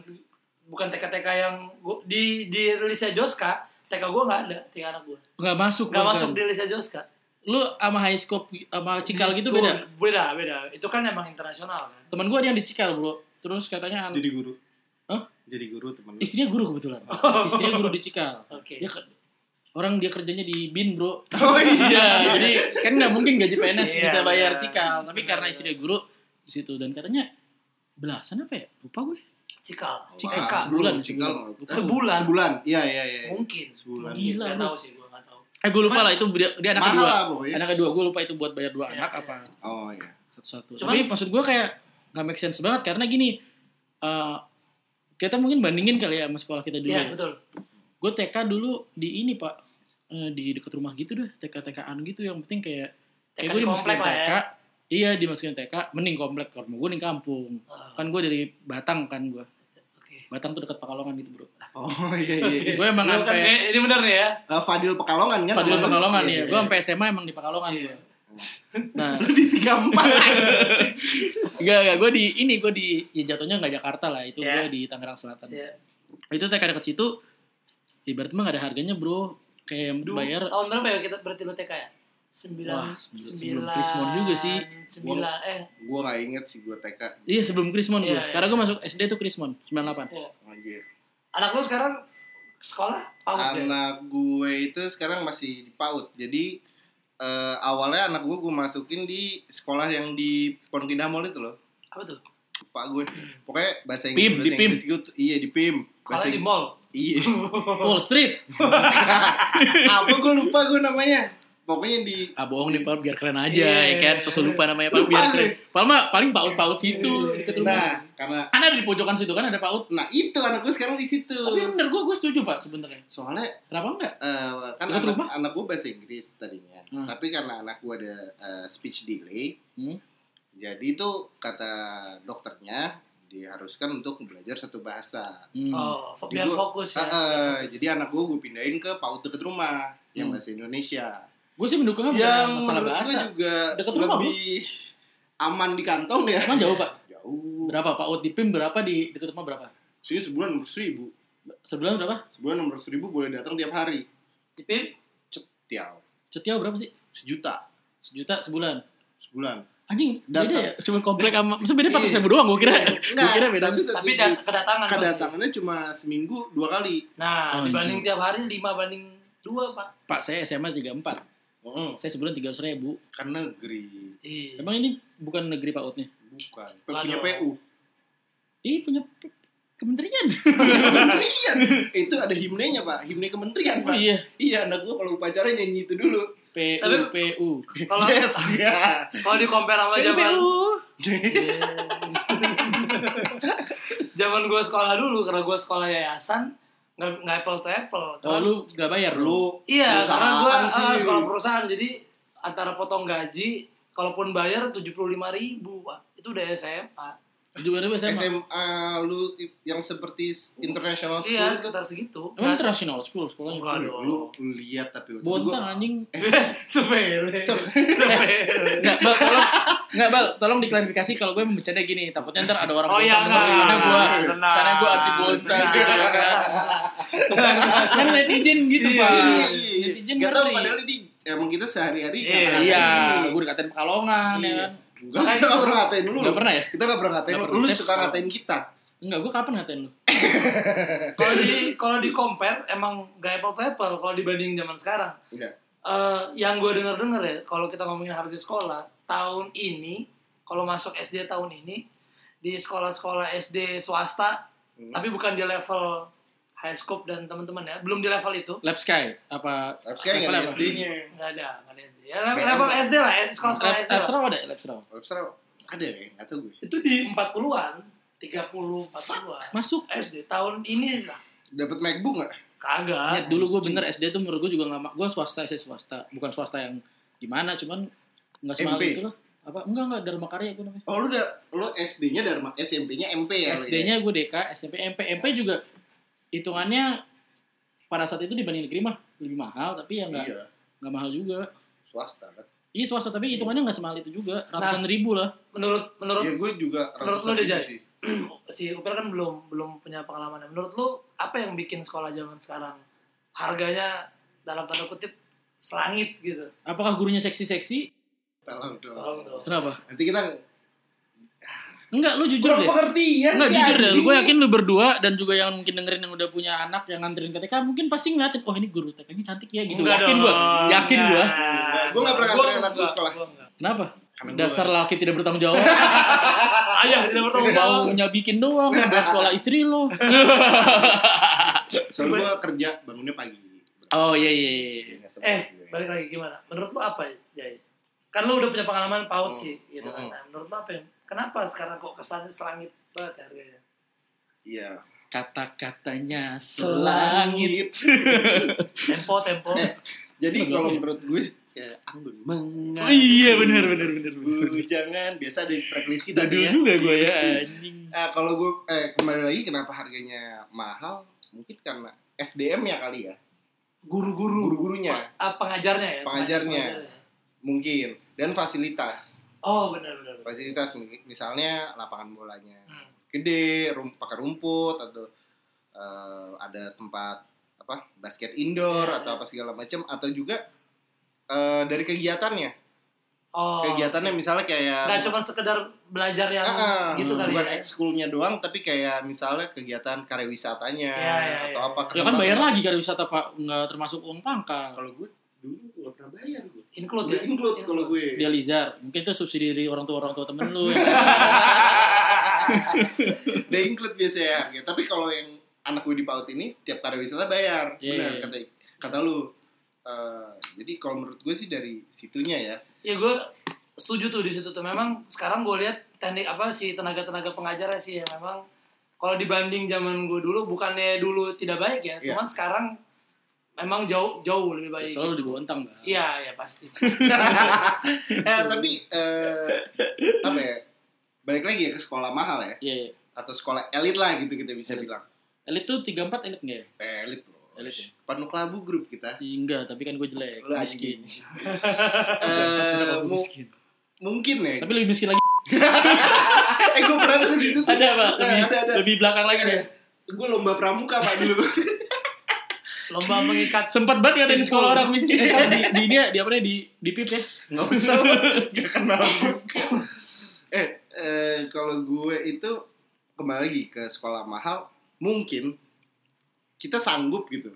[SPEAKER 3] bukan TK-TK yang gua, di di rilisnya Joska, TK gue nggak ada, TK anak gue.
[SPEAKER 1] nggak masuk
[SPEAKER 3] Nggak
[SPEAKER 1] bahkan.
[SPEAKER 3] masuk di rilisnya Joska.
[SPEAKER 1] lu sama high scope sama cikal gitu
[SPEAKER 3] Gua-
[SPEAKER 1] beda
[SPEAKER 3] Beda, beda. Itu kan emang internasional kan.
[SPEAKER 1] teman gue ada yang di cikal bro terus katanya an-
[SPEAKER 2] Jadi guru.
[SPEAKER 1] Hah?
[SPEAKER 2] Jadi guru temen lu.
[SPEAKER 1] istrinya guru kebetulan
[SPEAKER 3] Oh.
[SPEAKER 1] istrinya guru di cikal
[SPEAKER 3] Oke.
[SPEAKER 1] dia ke- orang dia kerjanya di bin bro
[SPEAKER 2] Oh
[SPEAKER 1] iya jadi kan nggak mungkin gaji PNS
[SPEAKER 3] Iya,
[SPEAKER 1] bisa bayar
[SPEAKER 3] benar.
[SPEAKER 1] cikal tapi
[SPEAKER 3] Benar,
[SPEAKER 1] karena
[SPEAKER 3] benar.
[SPEAKER 1] istrinya guru di situ dan katanya belasan apa ya lupa gue
[SPEAKER 3] Cikal.
[SPEAKER 1] Cikal.
[SPEAKER 3] TK.
[SPEAKER 1] Sebulan,
[SPEAKER 2] Sebulan, Oh, cikal. oh,
[SPEAKER 1] sebulan.
[SPEAKER 2] eh,
[SPEAKER 3] Sebulan.
[SPEAKER 2] Sebulan. Iya, iya, iya.
[SPEAKER 3] Mungkin.
[SPEAKER 2] Sebulan.
[SPEAKER 3] Mungkin.
[SPEAKER 1] Gila,
[SPEAKER 3] Nggak
[SPEAKER 1] lu.
[SPEAKER 3] tahu sih gue nggak tahu.
[SPEAKER 1] eh gue lupa
[SPEAKER 3] Cuman-
[SPEAKER 1] lah itu dia, dia anak
[SPEAKER 2] Mahal
[SPEAKER 1] kedua
[SPEAKER 2] lah pokoknya.
[SPEAKER 1] anak kedua gue lupa itu buat bayar dua
[SPEAKER 3] Iya,
[SPEAKER 1] anak
[SPEAKER 3] iya.
[SPEAKER 1] apa
[SPEAKER 2] Oh iya.
[SPEAKER 1] satu-satu.
[SPEAKER 3] Cuman-
[SPEAKER 1] Tapi maksud gue kayak nggak make sense banget karena gini, eh, kita mungkin bandingin kali ya sama sekolah kita dulu.
[SPEAKER 3] Iya,
[SPEAKER 1] ya.
[SPEAKER 3] betul.
[SPEAKER 1] Gue TK dulu di ini pak, eh, di dekat rumah gitu deh, TK-TKan gitu. Yang penting kayak, kayak
[SPEAKER 3] TK
[SPEAKER 1] gue
[SPEAKER 3] di
[SPEAKER 1] dimasukin
[SPEAKER 3] komplek lah
[SPEAKER 1] TK,
[SPEAKER 3] ya.
[SPEAKER 1] iya dimasukin TK, mending komplek kalau gue di kampung.
[SPEAKER 3] Ah,
[SPEAKER 1] Kan gue dari Batang kan gue,
[SPEAKER 3] Oke.
[SPEAKER 1] Batang tuh dekat Pekalongan gitu bro.
[SPEAKER 2] Oh iya, iya. iya.
[SPEAKER 1] Gue emang
[SPEAKER 2] Lu kan,
[SPEAKER 1] sampai
[SPEAKER 3] Ini, ini bener nih ya.
[SPEAKER 2] eh, Fadil Pekalongan kan?
[SPEAKER 1] Fadil
[SPEAKER 2] temen lu?
[SPEAKER 1] Pekalongan
[SPEAKER 2] Iya,
[SPEAKER 1] ya,
[SPEAKER 2] iya.
[SPEAKER 1] gue sampai SMA emang di Pekalongan
[SPEAKER 3] Iya.
[SPEAKER 1] gue. Nah,
[SPEAKER 2] Lu di
[SPEAKER 1] Iya.
[SPEAKER 2] 34.
[SPEAKER 1] Enggak, enggak. Gue di ini, gue di ya jatuhnya nggak Jakarta lah. Itu
[SPEAKER 3] Iya.
[SPEAKER 1] gue di Tangerang Selatan.
[SPEAKER 3] Iya.
[SPEAKER 1] Itu TK dekat situ, ibarat mah nggak ada harganya bro. Kayak yang
[SPEAKER 3] Dulu,
[SPEAKER 1] bayar,
[SPEAKER 3] tahun berapa ya kita berarti lu TK ya? Sembilan.
[SPEAKER 1] Wah, sebelum- sebelum Krismon juga sih.
[SPEAKER 3] Sembilan. Eh,
[SPEAKER 2] Gue gak inget sih gue TK.
[SPEAKER 1] iya sebelum Krismon gue.
[SPEAKER 3] Iya, iya.
[SPEAKER 1] Karena gue masuk SD tuh Krismon, 98.
[SPEAKER 2] Anjir.
[SPEAKER 3] ya. anak lu sekarang sekolah?
[SPEAKER 1] Oh,
[SPEAKER 3] Paut ya?
[SPEAKER 2] anak gue itu sekarang masih di PAUD. Jadi eh, awalnya anak gue gue masukin di sekolah yang di Pontianak Mall itu loh.
[SPEAKER 3] Apa tuh?
[SPEAKER 2] Pak gue pokoknya bahasa Inggris
[SPEAKER 1] Pim, di
[SPEAKER 2] bahasa
[SPEAKER 1] Pim.
[SPEAKER 2] Inggris gue tuh- iya di PIM. Bahasa
[SPEAKER 3] Sekolah di
[SPEAKER 2] Inggris-
[SPEAKER 3] mall.
[SPEAKER 2] Iya.
[SPEAKER 1] Wall Street.
[SPEAKER 2] Apa gue lupa gue namanya. Pokoknya di
[SPEAKER 1] Ah bohong nih, Pal, biar keren aja. Ya
[SPEAKER 3] Iya.
[SPEAKER 1] kan, sosok lupa namanya. Pal,
[SPEAKER 2] Lupa
[SPEAKER 1] biar
[SPEAKER 2] gue.
[SPEAKER 1] keren. Pal mah paling paut-paut
[SPEAKER 3] iya,
[SPEAKER 1] situ, deket rumah.
[SPEAKER 2] nah karena
[SPEAKER 1] Kan ada di pojokan situ kan ada paut.
[SPEAKER 2] nah itu anak gue sekarang di situ.
[SPEAKER 3] Oh,
[SPEAKER 1] Tapi bener, gue gue setuju pak sebenarnya.
[SPEAKER 2] Soalnya
[SPEAKER 1] Kenapa enggak?
[SPEAKER 2] eh, kan
[SPEAKER 1] Dekat
[SPEAKER 2] anak,
[SPEAKER 1] rumah?
[SPEAKER 2] anak gue bahasa Inggris tadinya.
[SPEAKER 1] Hmm.
[SPEAKER 2] Tapi karena anak gue ada eh, speech delay,
[SPEAKER 1] Hmm.
[SPEAKER 2] jadi itu kata dokternya diharuskan untuk belajar satu bahasa.
[SPEAKER 1] Hmm.
[SPEAKER 3] Oh, fo-
[SPEAKER 2] Di
[SPEAKER 3] biar
[SPEAKER 2] gua-
[SPEAKER 3] fokus ya.
[SPEAKER 2] Eh, eh, jadi anak gue gue pindahin ke PAUD deket rumah yang
[SPEAKER 1] Hmm.
[SPEAKER 2] bahasa Indonesia.
[SPEAKER 1] Gue sih mendukungnya
[SPEAKER 3] Ya,
[SPEAKER 1] bukan
[SPEAKER 2] yang
[SPEAKER 1] masalah
[SPEAKER 2] Ya, menurut gue
[SPEAKER 1] bahasa.
[SPEAKER 2] juga
[SPEAKER 1] Deket rumah,
[SPEAKER 2] lebih aman di kantong ya.
[SPEAKER 1] Emang jauh pak?
[SPEAKER 2] Jauh.
[SPEAKER 1] Berapa pak? Out di PIM berapa di deket rumah berapa?
[SPEAKER 2] Sini sebulan enam ribu.
[SPEAKER 1] Sebulan berapa?
[SPEAKER 2] Sebulan enam ribu boleh datang tiap hari.
[SPEAKER 3] Di PIM?
[SPEAKER 2] Tiap
[SPEAKER 1] Setiap berapa sih?
[SPEAKER 2] sejuta
[SPEAKER 1] Sejuta sebulan.
[SPEAKER 2] sebulan.
[SPEAKER 1] Anjing,
[SPEAKER 2] Data.
[SPEAKER 1] beda ya? Cuma komplek sama, maksudnya beda 400
[SPEAKER 3] Iya.
[SPEAKER 1] ribu doang gue kira. Gue kira
[SPEAKER 2] Eh, Enggak,
[SPEAKER 1] beda.
[SPEAKER 2] tapi
[SPEAKER 3] Tapi
[SPEAKER 2] satu-
[SPEAKER 3] dat- kedatangan. pasti.
[SPEAKER 2] kedatangannya cuma seminggu dua kali.
[SPEAKER 3] Nah,
[SPEAKER 1] Oh,
[SPEAKER 3] dibanding
[SPEAKER 1] anjing.
[SPEAKER 3] tiap hari 5 banding 2, Pak.
[SPEAKER 1] Pak, saya SMA 34.
[SPEAKER 2] Heeh,
[SPEAKER 1] Saya sebulan 300 ribu.
[SPEAKER 2] kan negeri
[SPEAKER 3] Iya.
[SPEAKER 1] Emang ini bukan negeri PAUD-nya?
[SPEAKER 2] bukan
[SPEAKER 3] Waduh.
[SPEAKER 2] punya PU.
[SPEAKER 1] Ih, punya p- kementerian.
[SPEAKER 2] kementerian. Iya. itu ada himnenya, Pak. Himne kementerian,
[SPEAKER 1] Oh
[SPEAKER 2] Pak.
[SPEAKER 1] iya.
[SPEAKER 2] Iya, anak gua kalau upacara nyanyi itu dulu.
[SPEAKER 1] PU,
[SPEAKER 3] Tapi-
[SPEAKER 1] PU.
[SPEAKER 3] Kalau
[SPEAKER 2] yes, ya.
[SPEAKER 3] kalau di compare sama Oh, zaman Iya. zaman gua sekolah dulu karena gua sekolah yayasan nggak nggak apple to apple.
[SPEAKER 1] Oh,
[SPEAKER 3] Karena-
[SPEAKER 1] lu gak bayar lu?
[SPEAKER 2] Lu
[SPEAKER 3] Iya, karena gua
[SPEAKER 2] perusahaan
[SPEAKER 3] ah,
[SPEAKER 2] sih.
[SPEAKER 3] sekolah perusahaan jadi antara potong gaji kalaupun bayar 75.000 ribu pak itu udah SMA
[SPEAKER 1] Itu berapa SMA?
[SPEAKER 2] SMA lu yang seperti international school
[SPEAKER 3] iya
[SPEAKER 2] itu.
[SPEAKER 3] sekitar
[SPEAKER 1] Emang
[SPEAKER 3] segitu Nggak-
[SPEAKER 1] international school sekolahnya?
[SPEAKER 3] Enggak
[SPEAKER 2] Lu, lu lihat tapi waktu
[SPEAKER 1] Bontang
[SPEAKER 2] gua-
[SPEAKER 1] anjing.
[SPEAKER 3] sepele sepele
[SPEAKER 1] Nggak, Bal, tolong. Nggak, Bal, tolong diklarifikasi kalau gue bercanda gini. Takutnya ntar ada orang
[SPEAKER 3] Oh iya
[SPEAKER 1] bontang
[SPEAKER 3] enggak.
[SPEAKER 1] di sana gue.
[SPEAKER 3] Tenang.
[SPEAKER 1] Sana gue anti bontang.
[SPEAKER 3] Tenang.
[SPEAKER 1] gitu ya, kan. Kan netizen gitu,
[SPEAKER 3] Iya,
[SPEAKER 1] Pak.
[SPEAKER 2] Iya, iya, iya.
[SPEAKER 1] Netizen
[SPEAKER 2] Gak tau
[SPEAKER 1] ngerti.
[SPEAKER 2] padahal di emang kita sehari-hari
[SPEAKER 3] Iya,
[SPEAKER 2] kata-kata
[SPEAKER 1] Iya,
[SPEAKER 2] gini.
[SPEAKER 1] gue dikatain pekalongan ya kan.
[SPEAKER 2] Enggak, kita gak pernah ngatain lu.
[SPEAKER 1] Nggak pernah ya?
[SPEAKER 2] Kita gak pernah ngatain
[SPEAKER 1] Nggak
[SPEAKER 2] lu. Lu
[SPEAKER 1] pernah.
[SPEAKER 2] suka ngatain kita.
[SPEAKER 1] Enggak, gue kapan ngatain lu?
[SPEAKER 3] kalau di kalau di compare emang gak apple to apple kalau dibanding zaman sekarang
[SPEAKER 2] Iya.
[SPEAKER 3] Eh, yang gue denger dengar ya kalau kita ngomongin harga sekolah tahun ini kalau masuk SD tahun ini di sekolah-sekolah SD swasta
[SPEAKER 2] Hmm.
[SPEAKER 3] tapi bukan di level high scope dan teman-teman ya belum di level itu
[SPEAKER 1] Lab Sky apa
[SPEAKER 2] Tapi sekarang gak ada
[SPEAKER 1] Level apa?
[SPEAKER 2] SD-nya.
[SPEAKER 3] nggak ada nggak ada SD ya level, level SD lah eh, sekolah-sekolah
[SPEAKER 1] Lab,
[SPEAKER 3] SD
[SPEAKER 1] lab
[SPEAKER 3] lah.
[SPEAKER 1] Straw ada ya, Lab Straw?
[SPEAKER 2] Webster ada ya? Gak tau gue.
[SPEAKER 3] itu di 40-an 30 40-an
[SPEAKER 1] Masuk.
[SPEAKER 3] SD tahun ini lah
[SPEAKER 2] Dapat MacBook gak?
[SPEAKER 1] Lihat
[SPEAKER 2] Ah,
[SPEAKER 3] kagak
[SPEAKER 1] dulu gue bener SD tuh menurut gue juga nggak gue swasta SD swasta bukan swasta yang gimana cuman nggak semahal
[SPEAKER 2] MP.
[SPEAKER 1] itu lah apa enggak enggak Dharma Karya gue namanya
[SPEAKER 2] Oh lu da- lu SD-nya Dharma, SMP-nya MP ya? lu ya?
[SPEAKER 1] SD-nya gue DK SMP MP MP juga hitungannya pada saat itu dibanding negeri mah lebih mahal tapi ya nggak
[SPEAKER 2] Iya,
[SPEAKER 1] nggak mahal juga
[SPEAKER 2] swasta kan.
[SPEAKER 1] iya swasta tapi hitungannya nggak semahal itu juga
[SPEAKER 2] Nah.
[SPEAKER 1] ratusan ribu lah
[SPEAKER 3] menurut menurut
[SPEAKER 2] Ya gue juga
[SPEAKER 3] Menurut lu
[SPEAKER 2] ratusan
[SPEAKER 3] dia
[SPEAKER 2] ribu
[SPEAKER 3] jadi?
[SPEAKER 2] sih.
[SPEAKER 3] si Upil kan belum belum punya pengalaman. Menurut lu apa yang bikin sekolah zaman sekarang harganya dalam tanda kutip selangit gitu?
[SPEAKER 1] apakah gurunya seksi seksi
[SPEAKER 2] Tolong
[SPEAKER 3] Tolong
[SPEAKER 2] dong.
[SPEAKER 3] dong.
[SPEAKER 1] kenapa
[SPEAKER 2] Nanti kita
[SPEAKER 1] enggak lu jujur
[SPEAKER 2] Kurang
[SPEAKER 1] deh
[SPEAKER 2] pengertian
[SPEAKER 1] Enggak
[SPEAKER 2] sih,
[SPEAKER 1] jujur deh,
[SPEAKER 2] anjing.
[SPEAKER 1] gue yakin lu berdua dan juga yang mungkin dengerin yang udah punya anak yang nganterin ke TK mungkin pasti ngeliatin, oh ini guru TK-nya cantik ya gitu. yakin gue, yakin gue.
[SPEAKER 2] Gua nggak pernah nganterin anak gua sekolah.
[SPEAKER 1] Kenapa?
[SPEAKER 2] Karena gua-
[SPEAKER 1] Dasar laki tidak bertanggung jawab,
[SPEAKER 3] Ayah tidak bertanggung jawab.
[SPEAKER 1] maunya bikin doang, buat sekolah istri lo.
[SPEAKER 2] Soalnya gue kerja bangunnya pagi.
[SPEAKER 1] Oh iya iya iya.
[SPEAKER 2] Nggak sempat
[SPEAKER 3] Eh,
[SPEAKER 2] gue.
[SPEAKER 3] balik lagi gimana? Menurut lu apa, Jai? Kan lu udah punya pengalaman PAUD
[SPEAKER 2] Hmm.
[SPEAKER 3] sih, gitu kan.
[SPEAKER 2] Hmm.
[SPEAKER 3] Nah, Menurut lu apa yang, kenapa sekarang kok kesannya selangit banget ya harganya?
[SPEAKER 2] Iya.
[SPEAKER 1] Kata-katanya selangit.
[SPEAKER 3] Tempo, tempo.
[SPEAKER 2] Eh, Jadi
[SPEAKER 1] Belum
[SPEAKER 2] kalau
[SPEAKER 1] ya?
[SPEAKER 2] menurut gue ya anggun
[SPEAKER 1] Oh,
[SPEAKER 2] mengalir.
[SPEAKER 1] iya benar benar benar benar.
[SPEAKER 2] Jangan biasa ada di tracklist kita
[SPEAKER 1] Dulu
[SPEAKER 2] nih ya.
[SPEAKER 1] juga gue ya anjing.
[SPEAKER 2] Eh, kalau gue eh, kembali lagi kenapa harganya mahal? Mungkin karena SDM ya kali ya. Guru-guru, guru-gurunya
[SPEAKER 3] Ah, pengajarnya ya?
[SPEAKER 2] Pengajarnya. mungkin dan fasilitas.
[SPEAKER 3] Oh, benar benar. benar.
[SPEAKER 2] Fasilitas mi- misalnya lapangan bolanya
[SPEAKER 3] Hmm.
[SPEAKER 2] gede, rum pakai rumput atau eh, ada tempat apa basket indoor
[SPEAKER 3] Iya,
[SPEAKER 2] atau
[SPEAKER 3] iya.
[SPEAKER 2] apa segala macam atau juga eh, dari kegiatannya
[SPEAKER 3] Oh.
[SPEAKER 2] kegiatannya misalnya kayak
[SPEAKER 1] Nah,
[SPEAKER 3] Nggak cuma sekedar belajar yang
[SPEAKER 2] Ah,
[SPEAKER 3] gitu kali
[SPEAKER 2] bukan
[SPEAKER 3] ya.
[SPEAKER 2] ekskulnya doang tapi kayak misalnya kegiatan karya wisatanya
[SPEAKER 3] Iya, iya,
[SPEAKER 2] atau
[SPEAKER 3] iya.
[SPEAKER 2] apa
[SPEAKER 1] Ya kan
[SPEAKER 2] kerja-
[SPEAKER 1] bayar lagi dari wisata Pak, nggak termasuk uang pangkal.
[SPEAKER 2] kalau gue dulu nggak pernah bayar
[SPEAKER 1] Oh,
[SPEAKER 2] gue
[SPEAKER 3] Include
[SPEAKER 2] Udah
[SPEAKER 3] ya.
[SPEAKER 2] include kalau gue
[SPEAKER 1] Dia Lizar, mungkin itu subsidi dari orang tua orang tua temen lu. ya.
[SPEAKER 2] udah include biasanya harga tapi kalau yang anak gue di PAUD ini tiap karya wisata bayar
[SPEAKER 1] Iya,
[SPEAKER 2] benar
[SPEAKER 1] iya.
[SPEAKER 2] kata kata lu Eh, jadi kalau menurut gue sih dari situnya ya
[SPEAKER 3] Ya gue setuju tuh di situ tuh. Memang sekarang gue lihat teknik apa sih tenaga-tenaga pengajarnya sih ya memang kalau dibanding zaman gue dulu bukannya dulu tidak baik ya,
[SPEAKER 2] Iya.
[SPEAKER 3] cuman sekarang memang jauh jauh
[SPEAKER 1] Ya,
[SPEAKER 3] lebih baik.
[SPEAKER 1] selalu dibontang, Bang.
[SPEAKER 3] Iya, iya pasti.
[SPEAKER 2] eh, tapi eh, apa ya balik lagi ya ke sekolah mahal ya
[SPEAKER 1] Iya. iya.
[SPEAKER 2] atau sekolah elit lah gitu kita bisa
[SPEAKER 1] Elit.
[SPEAKER 2] bilang
[SPEAKER 1] Elit tuh 34 elit enggak ya?
[SPEAKER 2] eh, elit loh
[SPEAKER 1] Elit ya?
[SPEAKER 2] panu kelabu grup kita
[SPEAKER 1] Ih, Enggak, tapi kan gue jelek.
[SPEAKER 2] Lu anjing.
[SPEAKER 1] iya. Kenapa
[SPEAKER 2] Eh,
[SPEAKER 1] gua
[SPEAKER 2] mu-
[SPEAKER 1] miskin?
[SPEAKER 2] mungkin ya
[SPEAKER 1] Tapi lebih miskin lagi.
[SPEAKER 2] eh gue pernah tuh ke situ tuh
[SPEAKER 1] Ada, Pak.
[SPEAKER 2] Eh,
[SPEAKER 1] Lebih,
[SPEAKER 2] ada, ada.
[SPEAKER 1] lebih belakang lagi deh.
[SPEAKER 2] gue lomba pramuka pak dulu
[SPEAKER 3] lomba mengikat
[SPEAKER 1] Sempat banget ngatain sekolah orang miskin. Eh, di, di ini ya, di apa nih, di di PIP ya.
[SPEAKER 2] nggak usah nggak kenal juga. eh, eh kalau gue itu kembali lagi ke sekolah mahal mungkin kita sanggup gitu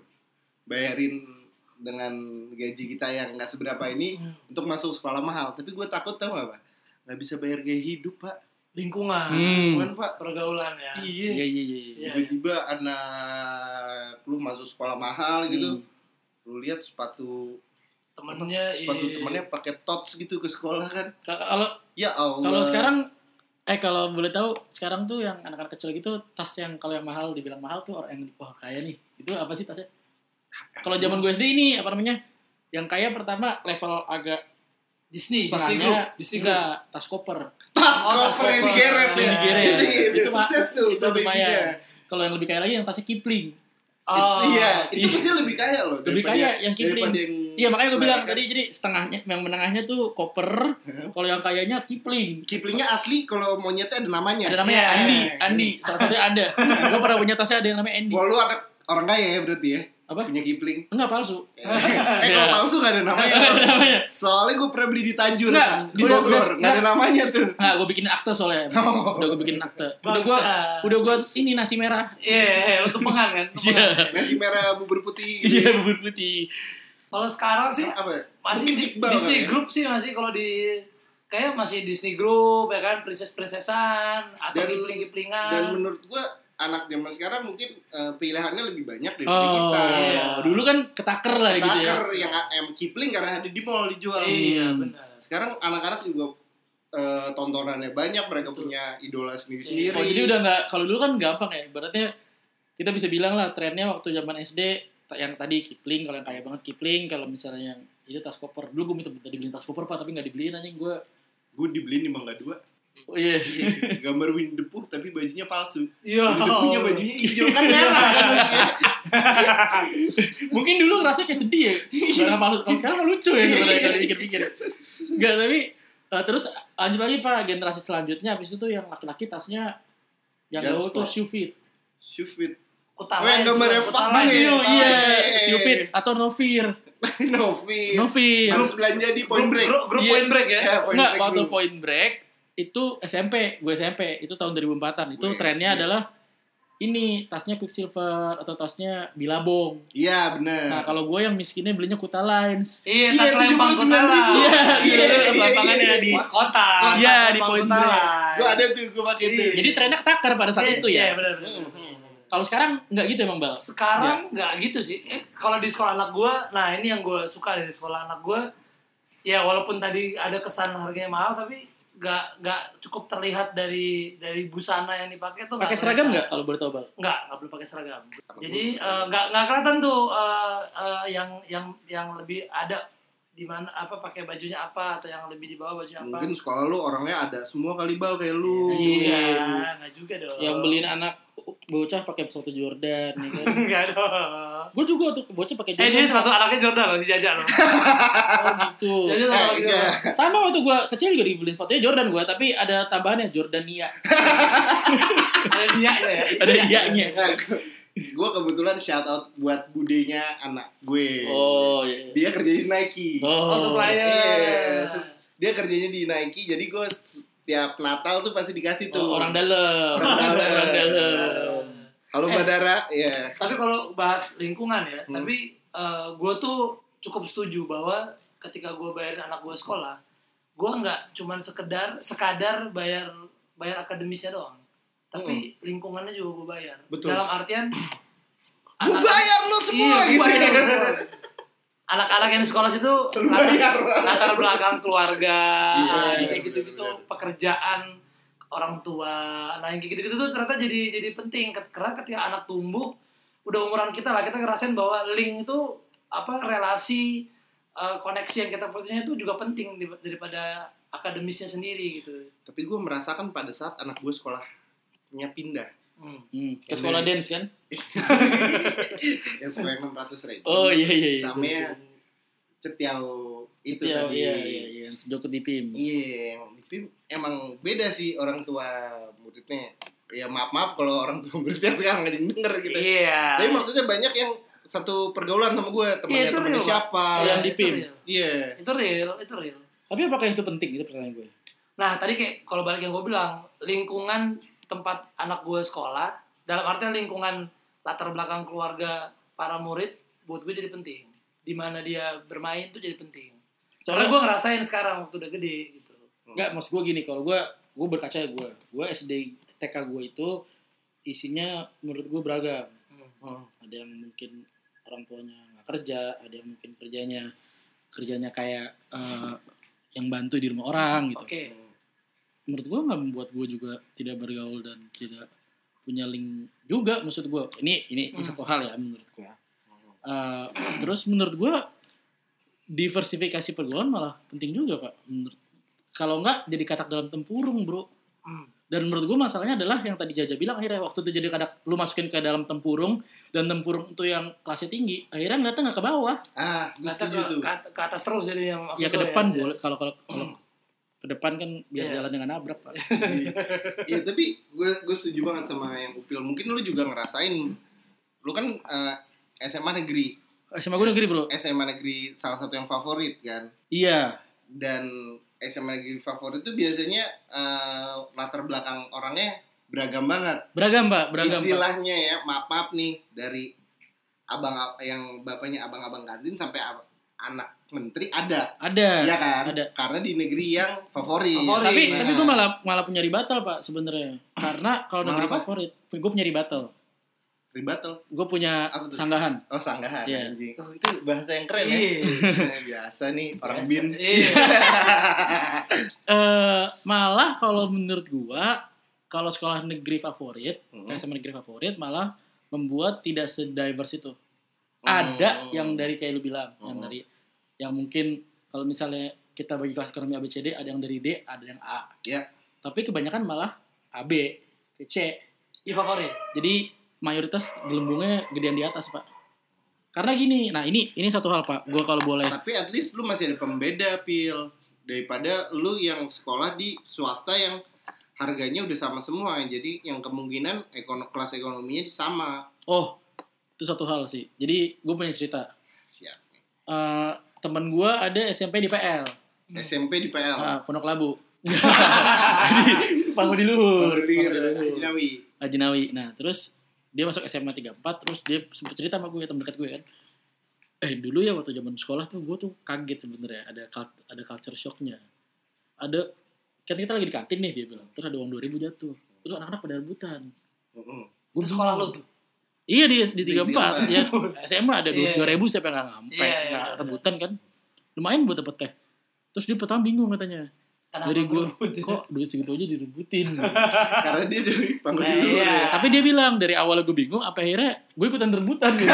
[SPEAKER 2] bayarin dengan gaji kita yang nggak seberapa ini
[SPEAKER 3] Hmm.
[SPEAKER 2] untuk masuk sekolah mahal tapi gue takut tau nggak pak nggak bisa bayar gaya hidup pak
[SPEAKER 3] lingkungan
[SPEAKER 1] Hmm.
[SPEAKER 2] bukan pak
[SPEAKER 3] pergaulan ya
[SPEAKER 1] Iya
[SPEAKER 2] iya
[SPEAKER 1] iya iya. iya.
[SPEAKER 3] Iya,
[SPEAKER 2] tiba-tiba anak lu masuk sekolah
[SPEAKER 1] Hmm.
[SPEAKER 2] mahal gitu lu lihat sepatu
[SPEAKER 3] temennya
[SPEAKER 2] sepatu
[SPEAKER 3] iya.
[SPEAKER 2] temennya pakai tots gitu ke sekolah kan
[SPEAKER 1] Ka- Kalau
[SPEAKER 2] ya allah
[SPEAKER 1] kalau sekarang eh kalau boleh tahu sekarang tuh yang anak-anak kecil gitu tas yang kalau yang mahal dibilang mahal tuh orang yang wah kaya nih. Itu apa sih tasnya? Kalau zaman gue SD ini apa namanya? Yang kaya pertama level agak
[SPEAKER 3] Disney
[SPEAKER 1] Disney
[SPEAKER 3] tengahnya,
[SPEAKER 1] Group.
[SPEAKER 3] Disney
[SPEAKER 2] Iya.
[SPEAKER 3] Group
[SPEAKER 1] enggak tas koper.
[SPEAKER 2] tas
[SPEAKER 3] Oh, tas
[SPEAKER 2] koper yang
[SPEAKER 3] koper.
[SPEAKER 2] digeret ya
[SPEAKER 1] Yang digeret.
[SPEAKER 2] itu, itu,
[SPEAKER 1] Itu, Pak,
[SPEAKER 2] sukses tuh
[SPEAKER 1] itu
[SPEAKER 2] tapi
[SPEAKER 1] lumayan.
[SPEAKER 2] dia.
[SPEAKER 1] Kalau yang lebih kaya lagi yang tasnya Kipling.
[SPEAKER 3] oh
[SPEAKER 2] iya itu
[SPEAKER 1] iya.
[SPEAKER 2] pasti lebih kaya loh
[SPEAKER 1] Lebih
[SPEAKER 2] daripada-
[SPEAKER 1] kaya yang Kipling.
[SPEAKER 2] daripada yang
[SPEAKER 1] Iya makanya gue bilang
[SPEAKER 2] selera
[SPEAKER 1] tadi jadi setengahnya yang menengahnya tuh koper,
[SPEAKER 2] Heeh.
[SPEAKER 1] kalau yang kayanya kipling.
[SPEAKER 2] Kiplingnya asli kalau monyetnya ada namanya
[SPEAKER 1] Ada namanya
[SPEAKER 3] Iya.
[SPEAKER 1] Andi, Andi, salah satunya ada. gue pernah punya tasnya ada yang namanya Andi.
[SPEAKER 2] Wah, lu anak orang kaya ya berarti ya
[SPEAKER 1] Apa?
[SPEAKER 2] punya Kipling
[SPEAKER 1] Enggak palsu.
[SPEAKER 2] eh kalau palsu nggak ada namanya
[SPEAKER 1] Ada namanya.
[SPEAKER 2] soalnya gue pernah beli di Tanjung
[SPEAKER 1] Nggak,
[SPEAKER 2] Pak, di
[SPEAKER 1] udah-
[SPEAKER 2] Bogor
[SPEAKER 1] udah-
[SPEAKER 2] nggak ada namanya tuh
[SPEAKER 1] Nah, gue bikin akte soalnya. Udah gue bikin akte. Udah gue,
[SPEAKER 3] Bangsa.
[SPEAKER 1] udah gue ini nasi merah.
[SPEAKER 3] iya iya, lu tumpengan kan tumpengan.
[SPEAKER 2] nasi merah Iya. bubur putih gitu.
[SPEAKER 1] Iya, bubur putih.
[SPEAKER 3] kalau sekarang sih
[SPEAKER 2] apa ya?
[SPEAKER 3] masih di,
[SPEAKER 2] Iqbal kali
[SPEAKER 3] Disney
[SPEAKER 2] ya?
[SPEAKER 3] Group sih masih kalau di kayak masih Disney Group ya kan princess prinsesan atau
[SPEAKER 2] Dan-
[SPEAKER 3] kipling kiplingan
[SPEAKER 2] dan menurut gue anak zaman sekarang mungkin eh, pilihannya lebih banyak daripada
[SPEAKER 1] Oh,
[SPEAKER 2] kita
[SPEAKER 3] iya.
[SPEAKER 1] dulu kan ketaker lah gitu ya.
[SPEAKER 2] Tucker yang AM Kipling karena ada di mall dijual.
[SPEAKER 3] iya
[SPEAKER 1] Hmm.
[SPEAKER 3] benar
[SPEAKER 2] Sekarang anak-anak juga eh, tontonannya banyak, mereka
[SPEAKER 3] Betul.
[SPEAKER 2] punya idola sendiri-sendiri.
[SPEAKER 1] Oh, jadi udah nggak kalau dulu kan gampang ya. Ibaratnya kita bisa bilang lah trennya waktu zaman SD ta- yang tadi Kipling kalau yang kaya banget Kipling kalau misalnya yang itu tas koper dulu gue minta minta dibeliin tas koper pak tapi nggak dibeliin anjing gue
[SPEAKER 2] Gue dibeliin di Mangga Dua,
[SPEAKER 1] oh, iya Oh.
[SPEAKER 2] gambar Winnie the Pooh tapi bajunya palsu.
[SPEAKER 3] iya
[SPEAKER 2] Winnie the Poohnya bajunya hijau kan merah kan mestinya.
[SPEAKER 1] mungkin dulu ngerasa kayak sedih ya
[SPEAKER 2] Iya.
[SPEAKER 1] karena malu kalau sekarang mah lucu ya sebenarnya kalau pikir-pikir nggak tapi eh, terus lanjut lagi pak generasi selanjutnya habis itu tuh yang laki-laki tasnya yang
[SPEAKER 2] Jangan
[SPEAKER 1] gaul tuh
[SPEAKER 2] stop.
[SPEAKER 1] shoe fit
[SPEAKER 2] Shufit.
[SPEAKER 3] Kutala
[SPEAKER 2] Oh, yang
[SPEAKER 3] ya,
[SPEAKER 2] gambarnya fuck
[SPEAKER 3] suka kutala
[SPEAKER 2] banget
[SPEAKER 3] ya,
[SPEAKER 2] ya?
[SPEAKER 1] Iya,
[SPEAKER 3] kutala.
[SPEAKER 1] iya,
[SPEAKER 2] Iya.
[SPEAKER 1] shoe fit atau no fear,
[SPEAKER 2] Novi.
[SPEAKER 1] no fear.
[SPEAKER 2] Harus belanja di Point
[SPEAKER 3] Grup-
[SPEAKER 2] Break.
[SPEAKER 3] grup, grup
[SPEAKER 1] Iya.
[SPEAKER 3] point break ya
[SPEAKER 2] Ya, Point
[SPEAKER 1] Enggak,
[SPEAKER 2] Break
[SPEAKER 1] waktu
[SPEAKER 2] dulu.
[SPEAKER 1] Point Break itu SMP, gue SMP, itu tahun 2004-an. Itu
[SPEAKER 2] Gue
[SPEAKER 1] trennya
[SPEAKER 2] SD.
[SPEAKER 1] adalah ini tasnya Quicksilver atau tasnya Bilabong. Nah,
[SPEAKER 2] Iya, benar.
[SPEAKER 1] kalau gue yang miskinnya belinya Kuta Lines.
[SPEAKER 3] iya
[SPEAKER 2] Iya,
[SPEAKER 3] tas lempang
[SPEAKER 2] 79.000.
[SPEAKER 1] Iya,
[SPEAKER 3] kutala
[SPEAKER 2] Iya,
[SPEAKER 1] iya,
[SPEAKER 2] iya,
[SPEAKER 1] tas
[SPEAKER 2] iya,
[SPEAKER 1] lapangannya
[SPEAKER 2] iya.
[SPEAKER 1] di
[SPEAKER 3] kota
[SPEAKER 1] Iya,
[SPEAKER 3] tas
[SPEAKER 1] di
[SPEAKER 3] lempang
[SPEAKER 1] point
[SPEAKER 3] kutala.
[SPEAKER 1] break.
[SPEAKER 2] Gue ada tuh, gue pakai
[SPEAKER 3] Iya.
[SPEAKER 2] tuh.
[SPEAKER 1] Jadi trennya ketakar pada saat
[SPEAKER 3] Iya,
[SPEAKER 1] itu
[SPEAKER 3] iya
[SPEAKER 1] ya.
[SPEAKER 3] benar benar.
[SPEAKER 2] Hmm, hmm.
[SPEAKER 1] Kalau sekarang nggak gitu emang, Bal.
[SPEAKER 3] sekarang nggak gitu sih eh, kalau di sekolah anak gue nah ini yang gue suka dari sekolah anak gue ya walaupun tadi ada kesan harganya mahal tapi nggak nggak cukup terlihat dari dari busana yang dipakai tuh nggak
[SPEAKER 1] Pakai seragam
[SPEAKER 3] kelihatan.
[SPEAKER 1] nggak kalau boleh tahu, Bal?
[SPEAKER 3] nggak nggak perlu pakai seragam
[SPEAKER 2] Apa
[SPEAKER 3] jadi
[SPEAKER 2] gua-
[SPEAKER 3] eh, nggak nggak kelihatan tuh eh, eh, yang yang yang lebih ada di mana apa pakai bajunya apa atau yang lebih di bawah bajunya apa
[SPEAKER 2] Mungkin sekolah lu orangnya ada semua kali bal kayak lu.
[SPEAKER 1] Iya.
[SPEAKER 3] iya nggak juga dong
[SPEAKER 1] Yang beliin anak bocah pakai sepatu Jordan, ya kan?
[SPEAKER 3] nggak dong
[SPEAKER 1] gue juga tuh bocah pakai
[SPEAKER 3] eh dia
[SPEAKER 1] Jordan.
[SPEAKER 3] sepatu anaknya Jordan loh si Jaja loh
[SPEAKER 1] oh, gitu.
[SPEAKER 3] Jaja loh
[SPEAKER 2] Eh,
[SPEAKER 3] gitu.
[SPEAKER 2] enggak.
[SPEAKER 1] Sama waktu gue kecil juga dibeliin sepatunya Jordan gue, tapi ada tambahannya Jordania.
[SPEAKER 3] ada dia ya
[SPEAKER 1] Ada iya-nya.
[SPEAKER 2] gue kebetulan shout out buat budenya anak gue.
[SPEAKER 1] Oh, iya.
[SPEAKER 2] Dia kerja di Nike.
[SPEAKER 3] Oh, supplier.
[SPEAKER 2] Iya, sup- Dia kerjanya di Nike, jadi gue setiap Natal tuh pasti dikasih tuh.
[SPEAKER 1] Oh, orang dalam.
[SPEAKER 2] Orang dalam.
[SPEAKER 1] Orang dalam.
[SPEAKER 2] Halo
[SPEAKER 3] Eh.
[SPEAKER 2] Badara, ya.
[SPEAKER 3] Tapi kalau bahas lingkungan ya,
[SPEAKER 2] Hmm.
[SPEAKER 3] tapi gue tuh cukup setuju bahwa ketika gue bayarin anak gue sekolah, gue nggak cuman sekedar sekadar bayar bayar akademisnya doang, tapi lingkungannya juga gue bayar.
[SPEAKER 2] Hmm. Betul.
[SPEAKER 3] Dalam artian
[SPEAKER 2] Gue bayar lu semua
[SPEAKER 3] Iya,
[SPEAKER 2] gitu.
[SPEAKER 3] gua bayar lu semua. Anak-anak yang di sekolah situ
[SPEAKER 2] Lu bayar.
[SPEAKER 3] latar, latar belakang keluarga,
[SPEAKER 2] Iya,
[SPEAKER 3] ah,
[SPEAKER 2] iya,
[SPEAKER 3] kayak gitu-gitu,
[SPEAKER 2] bener, bener.
[SPEAKER 3] pekerjaan orang tua. Nah, yang kayak gitu-gitu tuh ternyata jadi jadi penting Ket- karena ketika anak tumbuh udah umuran kita lah kita ngerasain bahwa link itu apa relasi eh, koneksi yang kita punya itu juga penting di- daripada akademisnya sendiri gitu.
[SPEAKER 2] Tapi gue merasakan pada saat anak gue sekolahnya pindah.
[SPEAKER 3] Hmm.
[SPEAKER 1] Hmm, ke sekolah dance kan?
[SPEAKER 2] Ya, sesuai 600 ribu.
[SPEAKER 1] Oh iya iya iya.
[SPEAKER 2] Sama yang cetiau itu
[SPEAKER 1] Iya
[SPEAKER 2] tadi.
[SPEAKER 1] iya iya iya, yang sejauh di PIM.
[SPEAKER 2] Iya, yang di PIM emang beda sih orang tua muridnya. Ya maaf maaf kalau orang tua muridnya sekarang nggak denger gitu.
[SPEAKER 3] Iya.
[SPEAKER 2] Tapi maksudnya banyak yang satu pergaulan sama gue temannya
[SPEAKER 3] Iya, itu
[SPEAKER 2] temannya
[SPEAKER 3] real,
[SPEAKER 2] siapa
[SPEAKER 1] Iya. yang
[SPEAKER 3] Itu
[SPEAKER 1] di PIM.
[SPEAKER 3] real.
[SPEAKER 2] iya
[SPEAKER 3] Itu real, itu real.
[SPEAKER 1] Tapi apakah itu penting? Itu pertanyaan gue.
[SPEAKER 3] Nah, tadi kayak kalau balik yang gue bilang, lingkungan tempat anak gue sekolah, dalam artian lingkungan latar belakang keluarga para murid, buat gue jadi penting. Di mana dia bermain tuh jadi penting.
[SPEAKER 1] Soalnya
[SPEAKER 3] Soalnya gue ngerasain sekarang waktu udah gede gitu.
[SPEAKER 1] Enggak, maksud gue gini, kalau gue gue berkaca ya gue, gue SD TK gue itu isinya menurut gue beragam.
[SPEAKER 2] Hmm,
[SPEAKER 1] Ada yang mungkin orang tuanya nggak kerja, ada yang mungkin kerjanya kerjanya kayak eh, yang bantu di rumah orang gitu.
[SPEAKER 3] Oke.
[SPEAKER 1] Menurut gue nggak membuat gue juga tidak bergaul dan tidak punya link juga maksud gue. Ini ini, ini
[SPEAKER 3] Hmm.
[SPEAKER 1] satu hal ya menurut gue. Eh, terus menurut gue diversifikasi pergaulan malah penting juga pak. Menurut kalau nggak jadi katak dalam tempurung bro.
[SPEAKER 3] Hmm.
[SPEAKER 1] Dan menurut gue masalahnya adalah yang tadi Jaja bilang akhirnya waktu itu jadi kadak lu masukin ke dalam tempurung dan tempurung itu yang kelasnya tinggi akhirnya ngeliatnya nggak ke bawah
[SPEAKER 2] ah gue
[SPEAKER 3] Kata
[SPEAKER 2] setuju
[SPEAKER 3] ke,
[SPEAKER 2] tuh
[SPEAKER 3] ke- ke atas terus jadi yang maksud
[SPEAKER 1] ya ke
[SPEAKER 3] gue
[SPEAKER 1] depan boleh kalau kalau kalau ke depan kan biar
[SPEAKER 3] Iya.
[SPEAKER 1] jalan dengan nabrak pak.
[SPEAKER 2] Iya tapi gue gue setuju banget sama yang Upil. Mungkin lu juga ngerasain. Lu kan eh, SMA negeri,
[SPEAKER 1] SMA gue negeri bro.
[SPEAKER 2] SMA negeri salah satu yang favorit kan.
[SPEAKER 1] Iya
[SPEAKER 2] Dan SMA negeri favorit itu biasanya eh, latar belakang orangnya beragam banget.
[SPEAKER 1] beragam pak beragam. Pak.
[SPEAKER 2] Istilahnya ya maaf maaf nih dari abang yang bapaknya abang-abang kantin sampai ab- anak menteri ada,
[SPEAKER 1] Ada.
[SPEAKER 2] ya kan?
[SPEAKER 1] Ada.
[SPEAKER 2] Karena di negeri yang favorit.
[SPEAKER 3] Favorit.
[SPEAKER 1] Tapi
[SPEAKER 2] Nah.
[SPEAKER 1] tapi gue malah malah punya ribatal pak sebenarnya karena kalau
[SPEAKER 2] Malah
[SPEAKER 1] negeri
[SPEAKER 2] apa?
[SPEAKER 1] favorit gue punya ribatal.
[SPEAKER 2] Ribatel.
[SPEAKER 1] Gue punya
[SPEAKER 2] Apa tuh?
[SPEAKER 1] sanggahan.
[SPEAKER 2] Oh sanggahan
[SPEAKER 1] Iya.
[SPEAKER 2] anjing.
[SPEAKER 3] Oh, itu
[SPEAKER 2] Bahasa yang keren ya.
[SPEAKER 3] iya.
[SPEAKER 2] Nah, biasa nih orang bin
[SPEAKER 3] Iya.
[SPEAKER 1] eh malah kalau menurut gua kalau sekolah negeri favorit
[SPEAKER 2] Hmm.
[SPEAKER 1] kayak sama negeri favorit malah membuat tidak sedivers itu ada
[SPEAKER 2] Hmm.
[SPEAKER 1] yang dari kayak lu bilang yang
[SPEAKER 2] Hmm.
[SPEAKER 1] dari yang mungkin kalau misalnya kita bagi kelas ekonomi ABCD ada yang dari D ada yang A
[SPEAKER 2] Iya.
[SPEAKER 1] tapi kebanyakan malah AB ke C
[SPEAKER 3] Iya favorit.
[SPEAKER 1] jadi mayoritas gelembungnya gedean di atas pak karena gini nah ini ini satu hal pak gua kalau boleh
[SPEAKER 2] tapi at least lu masih ada pembeda pil daripada lu yang sekolah di swasta yang harganya udah sama semua jadi yang kemungkinan ekono kelas ekonominya sama
[SPEAKER 1] oh itu satu hal sih jadi gue punya cerita
[SPEAKER 2] siap nih.
[SPEAKER 1] Eh, temen gue ada SMP di PL
[SPEAKER 3] Hmm.
[SPEAKER 2] SMP di PL
[SPEAKER 1] ah, Pondok Labu Di Pangudi Luhur
[SPEAKER 3] ya.
[SPEAKER 1] Pangudi
[SPEAKER 2] Berlir,
[SPEAKER 1] Luhur.
[SPEAKER 2] Ajinawi.
[SPEAKER 1] Ajinawi nah terus dia masuk SMA 34 terus dia sempat cerita sama gue temen dekat gue kan eh dulu ya waktu zaman sekolah tuh gue tuh kaget sebenarnya ada cult- ada culture shocknya ada kan kita lagi di kantin nih dia bilang terus ada uang 2000 jatuh terus anak-anak pada rebutan
[SPEAKER 2] Mm-mm.
[SPEAKER 1] gue
[SPEAKER 3] Itu sekolah lu tuh.
[SPEAKER 1] Iya di di
[SPEAKER 2] Di-
[SPEAKER 1] 34 ya SMA ada
[SPEAKER 3] Iya.
[SPEAKER 1] dua ribu siapa yang nggak ngampe
[SPEAKER 3] Iya, iya,
[SPEAKER 1] nggak
[SPEAKER 3] iya.
[SPEAKER 1] rebutan kan lumayan buat dapet teh terus dia pertama bingung katanya
[SPEAKER 3] Tanah
[SPEAKER 1] dari gue
[SPEAKER 3] Abang Guru.
[SPEAKER 1] kok duit segitu aja direbutin
[SPEAKER 2] karena dia dari Pangudi
[SPEAKER 3] Nah,
[SPEAKER 2] dulu
[SPEAKER 3] iya.
[SPEAKER 1] tapi dia bilang dari awal gue bingung apa akhirnya gue ikutan rebutan gitu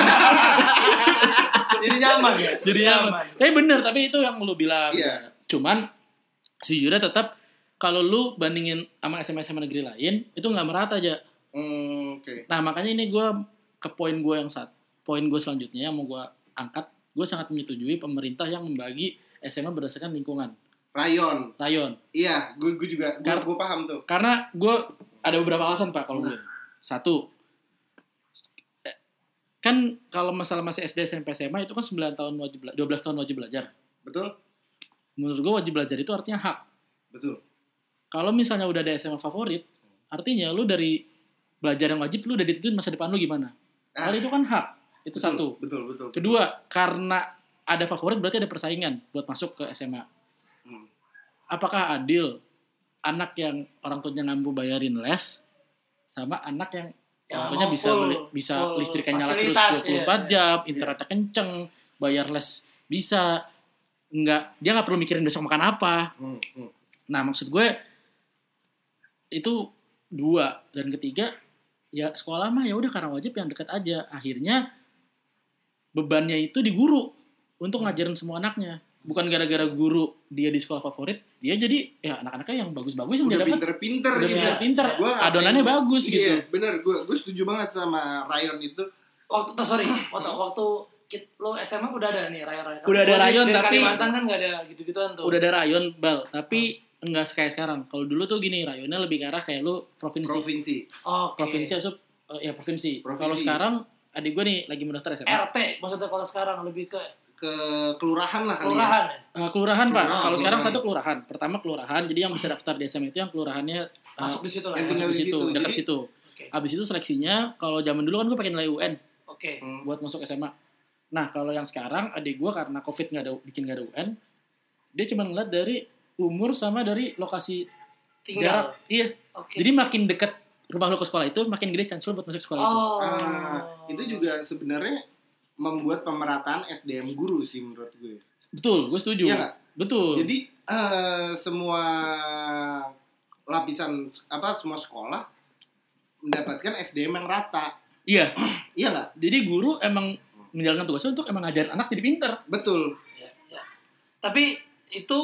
[SPEAKER 3] jadi nyaman ya.
[SPEAKER 1] jadi nyaman tapi bener tapi itu yang lu bilang
[SPEAKER 2] Iya.
[SPEAKER 1] cuman sejujurnya tetap kalau lu bandingin sama SMA SMA negeri lain itu nggak merata aja
[SPEAKER 2] Hmm, oke
[SPEAKER 1] Nah makanya ini gue ke poin gue yang saat poin gue selanjutnya yang mau gue angkat, gue sangat menyetujui pemerintah yang membagi SMA berdasarkan lingkungan
[SPEAKER 2] rayon
[SPEAKER 1] rayon.
[SPEAKER 2] iya gue gue juga gue
[SPEAKER 1] Kar-
[SPEAKER 2] gue paham tuh
[SPEAKER 1] Karena gue ada beberapa alasan pak kalau gue. Satu, eh, kan kalau masalah masih SD SMP SMA itu kan 9 tahun wajib bela- 12 tahun wajib belajar.
[SPEAKER 2] betul
[SPEAKER 1] Menurut gue wajib belajar itu artinya hak.
[SPEAKER 2] betul
[SPEAKER 1] Kalau misalnya udah ada SMA favorit, artinya lu dari belajar yang wajib lu udah ditentuin masa depan lu gimana.
[SPEAKER 2] Ah,
[SPEAKER 1] Hal itu kan hak. Itu
[SPEAKER 2] betul,
[SPEAKER 1] satu.
[SPEAKER 2] betul betul
[SPEAKER 1] Kedua, karena ada favorit berarti ada persaingan buat masuk ke SMA.
[SPEAKER 2] Hmm.
[SPEAKER 1] Apakah adil anak yang orang tuanya mampu bayarin les sama anak yang
[SPEAKER 3] Ya,
[SPEAKER 1] orang tuanya
[SPEAKER 3] mau
[SPEAKER 1] bisa
[SPEAKER 3] full-
[SPEAKER 1] beli- bisa
[SPEAKER 3] full
[SPEAKER 1] listriknya nyala terus 24
[SPEAKER 3] fasilitas, ya.
[SPEAKER 1] jam, internetnya kenceng, bayar les bisa nggak dia nggak perlu mikirin besok makan apa.
[SPEAKER 2] Hmm, hmm.
[SPEAKER 1] Nah maksud gue itu dua dan ketiga ya sekolah mah ya udah karena wajib yang dekat aja akhirnya bebannya itu di guru untuk
[SPEAKER 3] Hmm.
[SPEAKER 1] ngajarin semua anaknya bukan gara-gara guru dia di sekolah favorit dia jadi ya anak-anaknya yang bagus-bagus yang dia
[SPEAKER 2] udah
[SPEAKER 1] dapat
[SPEAKER 2] pinter-pinter
[SPEAKER 1] udah
[SPEAKER 2] gitu
[SPEAKER 1] pinter
[SPEAKER 2] Gua ngapain-
[SPEAKER 1] adonannya bagus gitu
[SPEAKER 2] Iya, bener. Gue gue setuju banget sama Rayon itu.
[SPEAKER 3] waktu tuh sorry waktu waktu kit- lo SMA udah ada nih rayon-rayon
[SPEAKER 1] Udah ada
[SPEAKER 3] Gua di-
[SPEAKER 1] rayon,
[SPEAKER 3] di
[SPEAKER 1] tapi-
[SPEAKER 3] Kalimantan kan nggak ada gitu-gituan tuh
[SPEAKER 1] udah ada rayon bal tapi enggak kayak sekarang kalau dulu tuh gini rayonnya lebih ke arah kayak lu provinsi
[SPEAKER 2] Provinsi.
[SPEAKER 3] oke
[SPEAKER 1] provinsi atau ya provinsi.
[SPEAKER 2] Provinsi.
[SPEAKER 1] Kalau sekarang adik gue nih lagi ya, mendaftar SMA.
[SPEAKER 3] RT maksudnya kalau sekarang lebih ke
[SPEAKER 1] Iya.
[SPEAKER 2] ke kelurahan lah kali ya.
[SPEAKER 3] kelurahan ya.
[SPEAKER 1] Eh, kelurahan, Pak.
[SPEAKER 2] Kelurahan,
[SPEAKER 1] Kalau sekarang
[SPEAKER 2] kelurahan.
[SPEAKER 1] satu kelurahan. Pertama kelurahan. Jadi yang bisa daftar di SMA itu yang kelurahannya eh,
[SPEAKER 3] Masuk di situ lah.
[SPEAKER 2] yang
[SPEAKER 3] ya.
[SPEAKER 2] tinggal
[SPEAKER 1] masuk
[SPEAKER 2] di
[SPEAKER 1] situ,
[SPEAKER 2] situ.
[SPEAKER 1] dekat
[SPEAKER 2] Jadi-
[SPEAKER 1] situ.
[SPEAKER 3] Oke.
[SPEAKER 1] Habis itu seleksinya kalau zaman dulu kan gue pakai nilai UN
[SPEAKER 3] Oke.
[SPEAKER 2] Hmm.
[SPEAKER 1] buat masuk SMA. Nah, kalau yang sekarang adik gue karena Covid nggak ada bikin nggak ada UN, dia cuma ngeliat dari umur sama dari lokasi
[SPEAKER 3] Tinggal.
[SPEAKER 1] jarak. Iya.
[SPEAKER 3] Oke.
[SPEAKER 1] Jadi makin dekat rumah lo ke sekolah itu, makin gede chance lo buat masuk sekolah itu.
[SPEAKER 3] Oh.
[SPEAKER 2] Ah, itu juga sebenarnya membuat pemerataan SDM guru sih menurut gue.
[SPEAKER 1] Betul, gue setuju.
[SPEAKER 2] Iya nggak?
[SPEAKER 1] Betul.
[SPEAKER 2] Jadi eh, semua lapisan apa semua sekolah mendapatkan SDM yang rata.
[SPEAKER 1] iya.
[SPEAKER 2] Iya nggak?
[SPEAKER 1] Jadi guru emang menjalankan tugasnya untuk emang ngajarin anak jadi pinter.
[SPEAKER 2] Betul.
[SPEAKER 3] Ya, ya. Tapi itu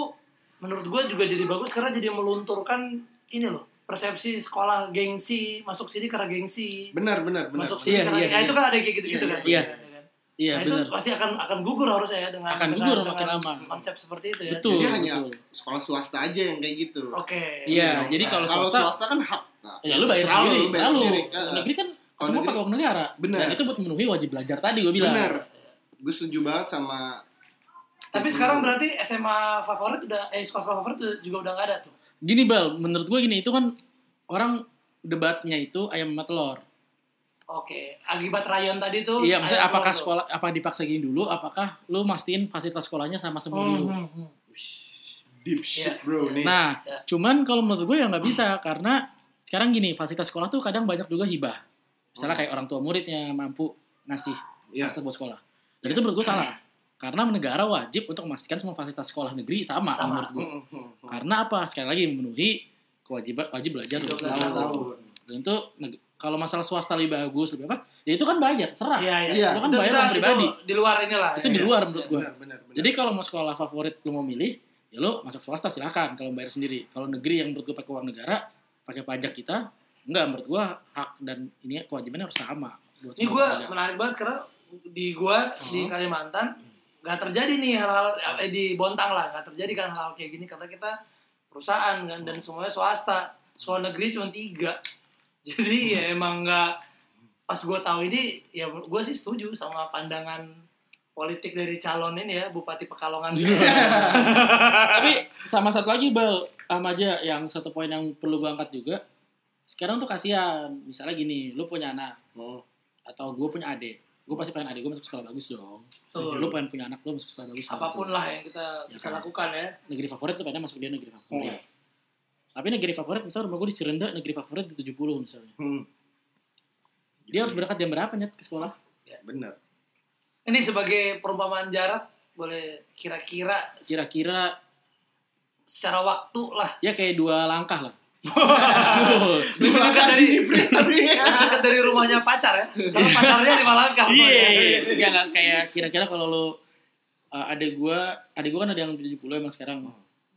[SPEAKER 3] menurut gue juga jadi bagus karena jadi melunturkan ini loh persepsi sekolah gengsi masuk sini karena gengsi
[SPEAKER 2] Benar, benar, benar.
[SPEAKER 3] masuk sini
[SPEAKER 1] Iya,
[SPEAKER 3] karena
[SPEAKER 1] iya,
[SPEAKER 3] ya,
[SPEAKER 1] iya.
[SPEAKER 3] itu kan ada yang kayak gitu-gitu
[SPEAKER 2] Iya,
[SPEAKER 3] kan.
[SPEAKER 1] iya.
[SPEAKER 3] kan?
[SPEAKER 1] Iya,
[SPEAKER 3] nah,
[SPEAKER 1] benar.
[SPEAKER 3] itu pasti akan akan gugur harusnya ya dengan
[SPEAKER 1] Akan
[SPEAKER 3] dengan-
[SPEAKER 1] gugur
[SPEAKER 3] dengan
[SPEAKER 1] makin lama.
[SPEAKER 3] konsep seperti itu ya.
[SPEAKER 1] Betul.
[SPEAKER 2] Jadi hanya-
[SPEAKER 1] betul.
[SPEAKER 2] Sekolah swasta aja yang kayak gitu.
[SPEAKER 3] Oke.
[SPEAKER 1] Iya,
[SPEAKER 3] Nah,
[SPEAKER 1] jadi kalau
[SPEAKER 2] Kalau
[SPEAKER 1] swasta-
[SPEAKER 2] swasta kan hak. Nah,
[SPEAKER 1] Ya lu bayar
[SPEAKER 2] selalu,
[SPEAKER 1] sendiri,
[SPEAKER 2] lu bayar
[SPEAKER 1] selalu.
[SPEAKER 2] sendiri. Eh,
[SPEAKER 1] Negeri kan
[SPEAKER 2] Kalau
[SPEAKER 1] semua
[SPEAKER 2] negeri-
[SPEAKER 1] pakai uang negara.
[SPEAKER 2] Benar.
[SPEAKER 1] Dan itu buat memenuhi wajib belajar tadi gue bilang.
[SPEAKER 2] Benar. Gue setuju banget sama
[SPEAKER 3] Tapi sekarang berarti SMA favorit udah eh sekolah favorit udah- juga udah nggak ada tuh.
[SPEAKER 1] Gini Bal, menurut gue gini, itu kan orang debatnya itu ayam sama telur.
[SPEAKER 3] Oke, akibat rayon tadi tuh.
[SPEAKER 1] Iya, maksudnya
[SPEAKER 3] Oh, ayam
[SPEAKER 1] apakah
[SPEAKER 3] telur
[SPEAKER 1] sekolah apa dipaksa gini dulu, apakah lu mastiin fasilitas sekolahnya sama
[SPEAKER 3] tuh.
[SPEAKER 1] semua dulu.
[SPEAKER 3] Hmm, hmm, hmm.
[SPEAKER 2] deep shit bro nih.
[SPEAKER 1] Iya. Nah,
[SPEAKER 3] Iya.
[SPEAKER 1] cuman kalau menurut gue ya nggak bisa karena sekarang gini fasilitas sekolah tuh kadang banyak juga hibah. Misalnya kayak orang tua muridnya mampu ngasih
[SPEAKER 2] Iya.
[SPEAKER 1] fasilitas buat sekolah. Dan itu menurut gue salah. Karena negara wajib untuk memastikan semua fasilitas sekolah negeri sama,
[SPEAKER 3] Sama.
[SPEAKER 1] menurut gue.
[SPEAKER 2] Mm, mm, mm.
[SPEAKER 1] Karena apa? Sekali lagi memenuhi kewajiban wajib belajar
[SPEAKER 3] Si
[SPEAKER 1] 12
[SPEAKER 2] Belas
[SPEAKER 1] tahun.
[SPEAKER 2] tahun.
[SPEAKER 1] Dan itu neg- kalau masalah swasta lebih bagus lebih apa? Ya itu kan bayar, serah.
[SPEAKER 3] Iya, iya.
[SPEAKER 2] Iya.
[SPEAKER 1] Itu kan
[SPEAKER 3] Itu-
[SPEAKER 1] bayar
[SPEAKER 3] itu-
[SPEAKER 1] orang pribadi.
[SPEAKER 3] Itu di luar inilah. iya.
[SPEAKER 1] Itu di luar menurut gue.
[SPEAKER 2] Benar, benar, benar.
[SPEAKER 1] Jadi kalau mau sekolah favorit lu mau milih, ya lu masuk swasta silahkan kalau bayar sendiri. Kalau negeri yang menurut gue pakai uang negara, pakai pajak kita, enggak menurut gue hak dan ini kewajibannya harus sama. buat semua
[SPEAKER 3] Ini gue
[SPEAKER 1] pajak.
[SPEAKER 3] menarik banget karena di gue di
[SPEAKER 1] Hmm.
[SPEAKER 3] Kalimantan nggak terjadi nih hal-hal
[SPEAKER 1] Ya.
[SPEAKER 3] eh, di Bontang lah nggak terjadi kan hal-hal kayak gini karena kita perusahaan kan
[SPEAKER 1] Hmm.
[SPEAKER 3] dan semuanya swasta. Soal negeri cuma tiga. Jadi ya emang nggak pas gue tahu ini ya gue sih setuju sama pandangan politik dari calon ini ya Bupati Pekalongan.
[SPEAKER 1] Iya. Tapi sama satu lagi Bal, sama aja yang satu poin yang perlu gue angkat juga. Sekarang tuh kasihan, misalnya gini, lu punya anak
[SPEAKER 2] Mm.
[SPEAKER 3] Oh.
[SPEAKER 1] atau gue punya adik, gue pasti pengen adik gue masuk sekolah bagus dong.
[SPEAKER 3] Betul.
[SPEAKER 1] Lu pengen punya anak lu masuk sekolah bagus. dong.
[SPEAKER 3] apapun lah yang kita
[SPEAKER 1] Ya
[SPEAKER 3] bisa
[SPEAKER 1] kan?
[SPEAKER 3] lakukan ya.
[SPEAKER 1] negeri favorit tuh pengen masuk dia negeri
[SPEAKER 3] Oh, iya.
[SPEAKER 1] favorit. Tapi negeri favorit misalnya rumah gue di Cirende, negeri favorit di 70 misalnya.
[SPEAKER 2] Hmm.
[SPEAKER 1] Dia harus berangkat jam berapa nyet ke sekolah?
[SPEAKER 2] benar.
[SPEAKER 3] Ini sebagai perumpamaan jarak boleh kira-kira
[SPEAKER 1] Kira-kira
[SPEAKER 3] secara waktu lah.
[SPEAKER 1] ya kayak dua langkah lah.
[SPEAKER 2] Dua langkah
[SPEAKER 3] dari-
[SPEAKER 2] di free tapi
[SPEAKER 3] Lebih dekat dari rumahnya pacar ya. Kalau pacarnya lima langkah.
[SPEAKER 1] Iya, Nggak, nggak, kayak kira-kira kalau lo uh, ada gua, ada gua kan ada yang 70 emang sekarang.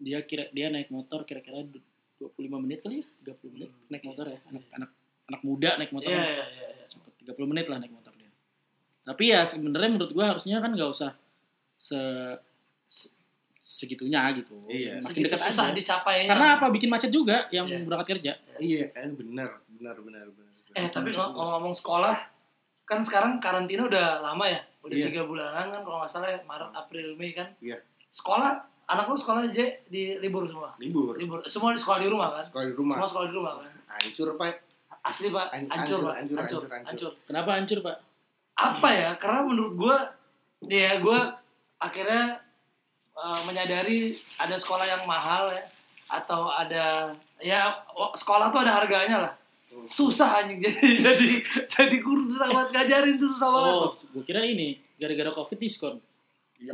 [SPEAKER 1] Dia kira dia naik motor kira-kira du- 25 menit kali ya, 30 menit naik motor ya. Anak anak anak muda naik motor.
[SPEAKER 3] Iya,
[SPEAKER 1] kan.
[SPEAKER 3] iya, iya, iya.
[SPEAKER 1] Cepet, 30 menit lah naik motor dia. Tapi ya sebenarnya menurut gua harusnya kan nggak usah se, se- segitunya gitu.
[SPEAKER 2] Iya.
[SPEAKER 1] Makin dekat
[SPEAKER 3] Sedikit susah
[SPEAKER 1] aja.
[SPEAKER 3] dicapainya.
[SPEAKER 1] Karena apa bikin macet juga yang
[SPEAKER 3] Iya.
[SPEAKER 1] berangkat kerja.
[SPEAKER 2] Iya, eh, benar, benar, benar, benar.
[SPEAKER 3] eh tapi kalau kalau ngomong sekolah kan sekarang karantina udah lama ya. Udah
[SPEAKER 2] Iya.
[SPEAKER 3] tiga bulanan kan kalau nggak salah ya, Maret, April, Mei kan.
[SPEAKER 2] Iya.
[SPEAKER 3] Sekolah anak lu sekolah aja di libur semua.
[SPEAKER 2] libur.
[SPEAKER 3] Libur. Semua di sekolah di rumah kan.
[SPEAKER 2] Sekolah di rumah.
[SPEAKER 3] Semua sekolah di rumah kan.
[SPEAKER 2] Hancur, Pak.
[SPEAKER 3] Asli pak,
[SPEAKER 2] An- hancur,
[SPEAKER 3] hancur pak,
[SPEAKER 2] hancur,
[SPEAKER 3] hancur,
[SPEAKER 2] hancur, hancur.
[SPEAKER 3] hancur.
[SPEAKER 1] Kenapa hancur, Pak?
[SPEAKER 3] Apa ya? Karena menurut gue, ya gue akhirnya eh, menyadari ada sekolah yang mahal ya, atau ada ya o- sekolah tuh ada harganya lah. Susah anjing jadi jadi jadi guru susah banget ngajarin tuh susah banget.
[SPEAKER 1] Oh, gua kira ini gara-gara Covid diskon.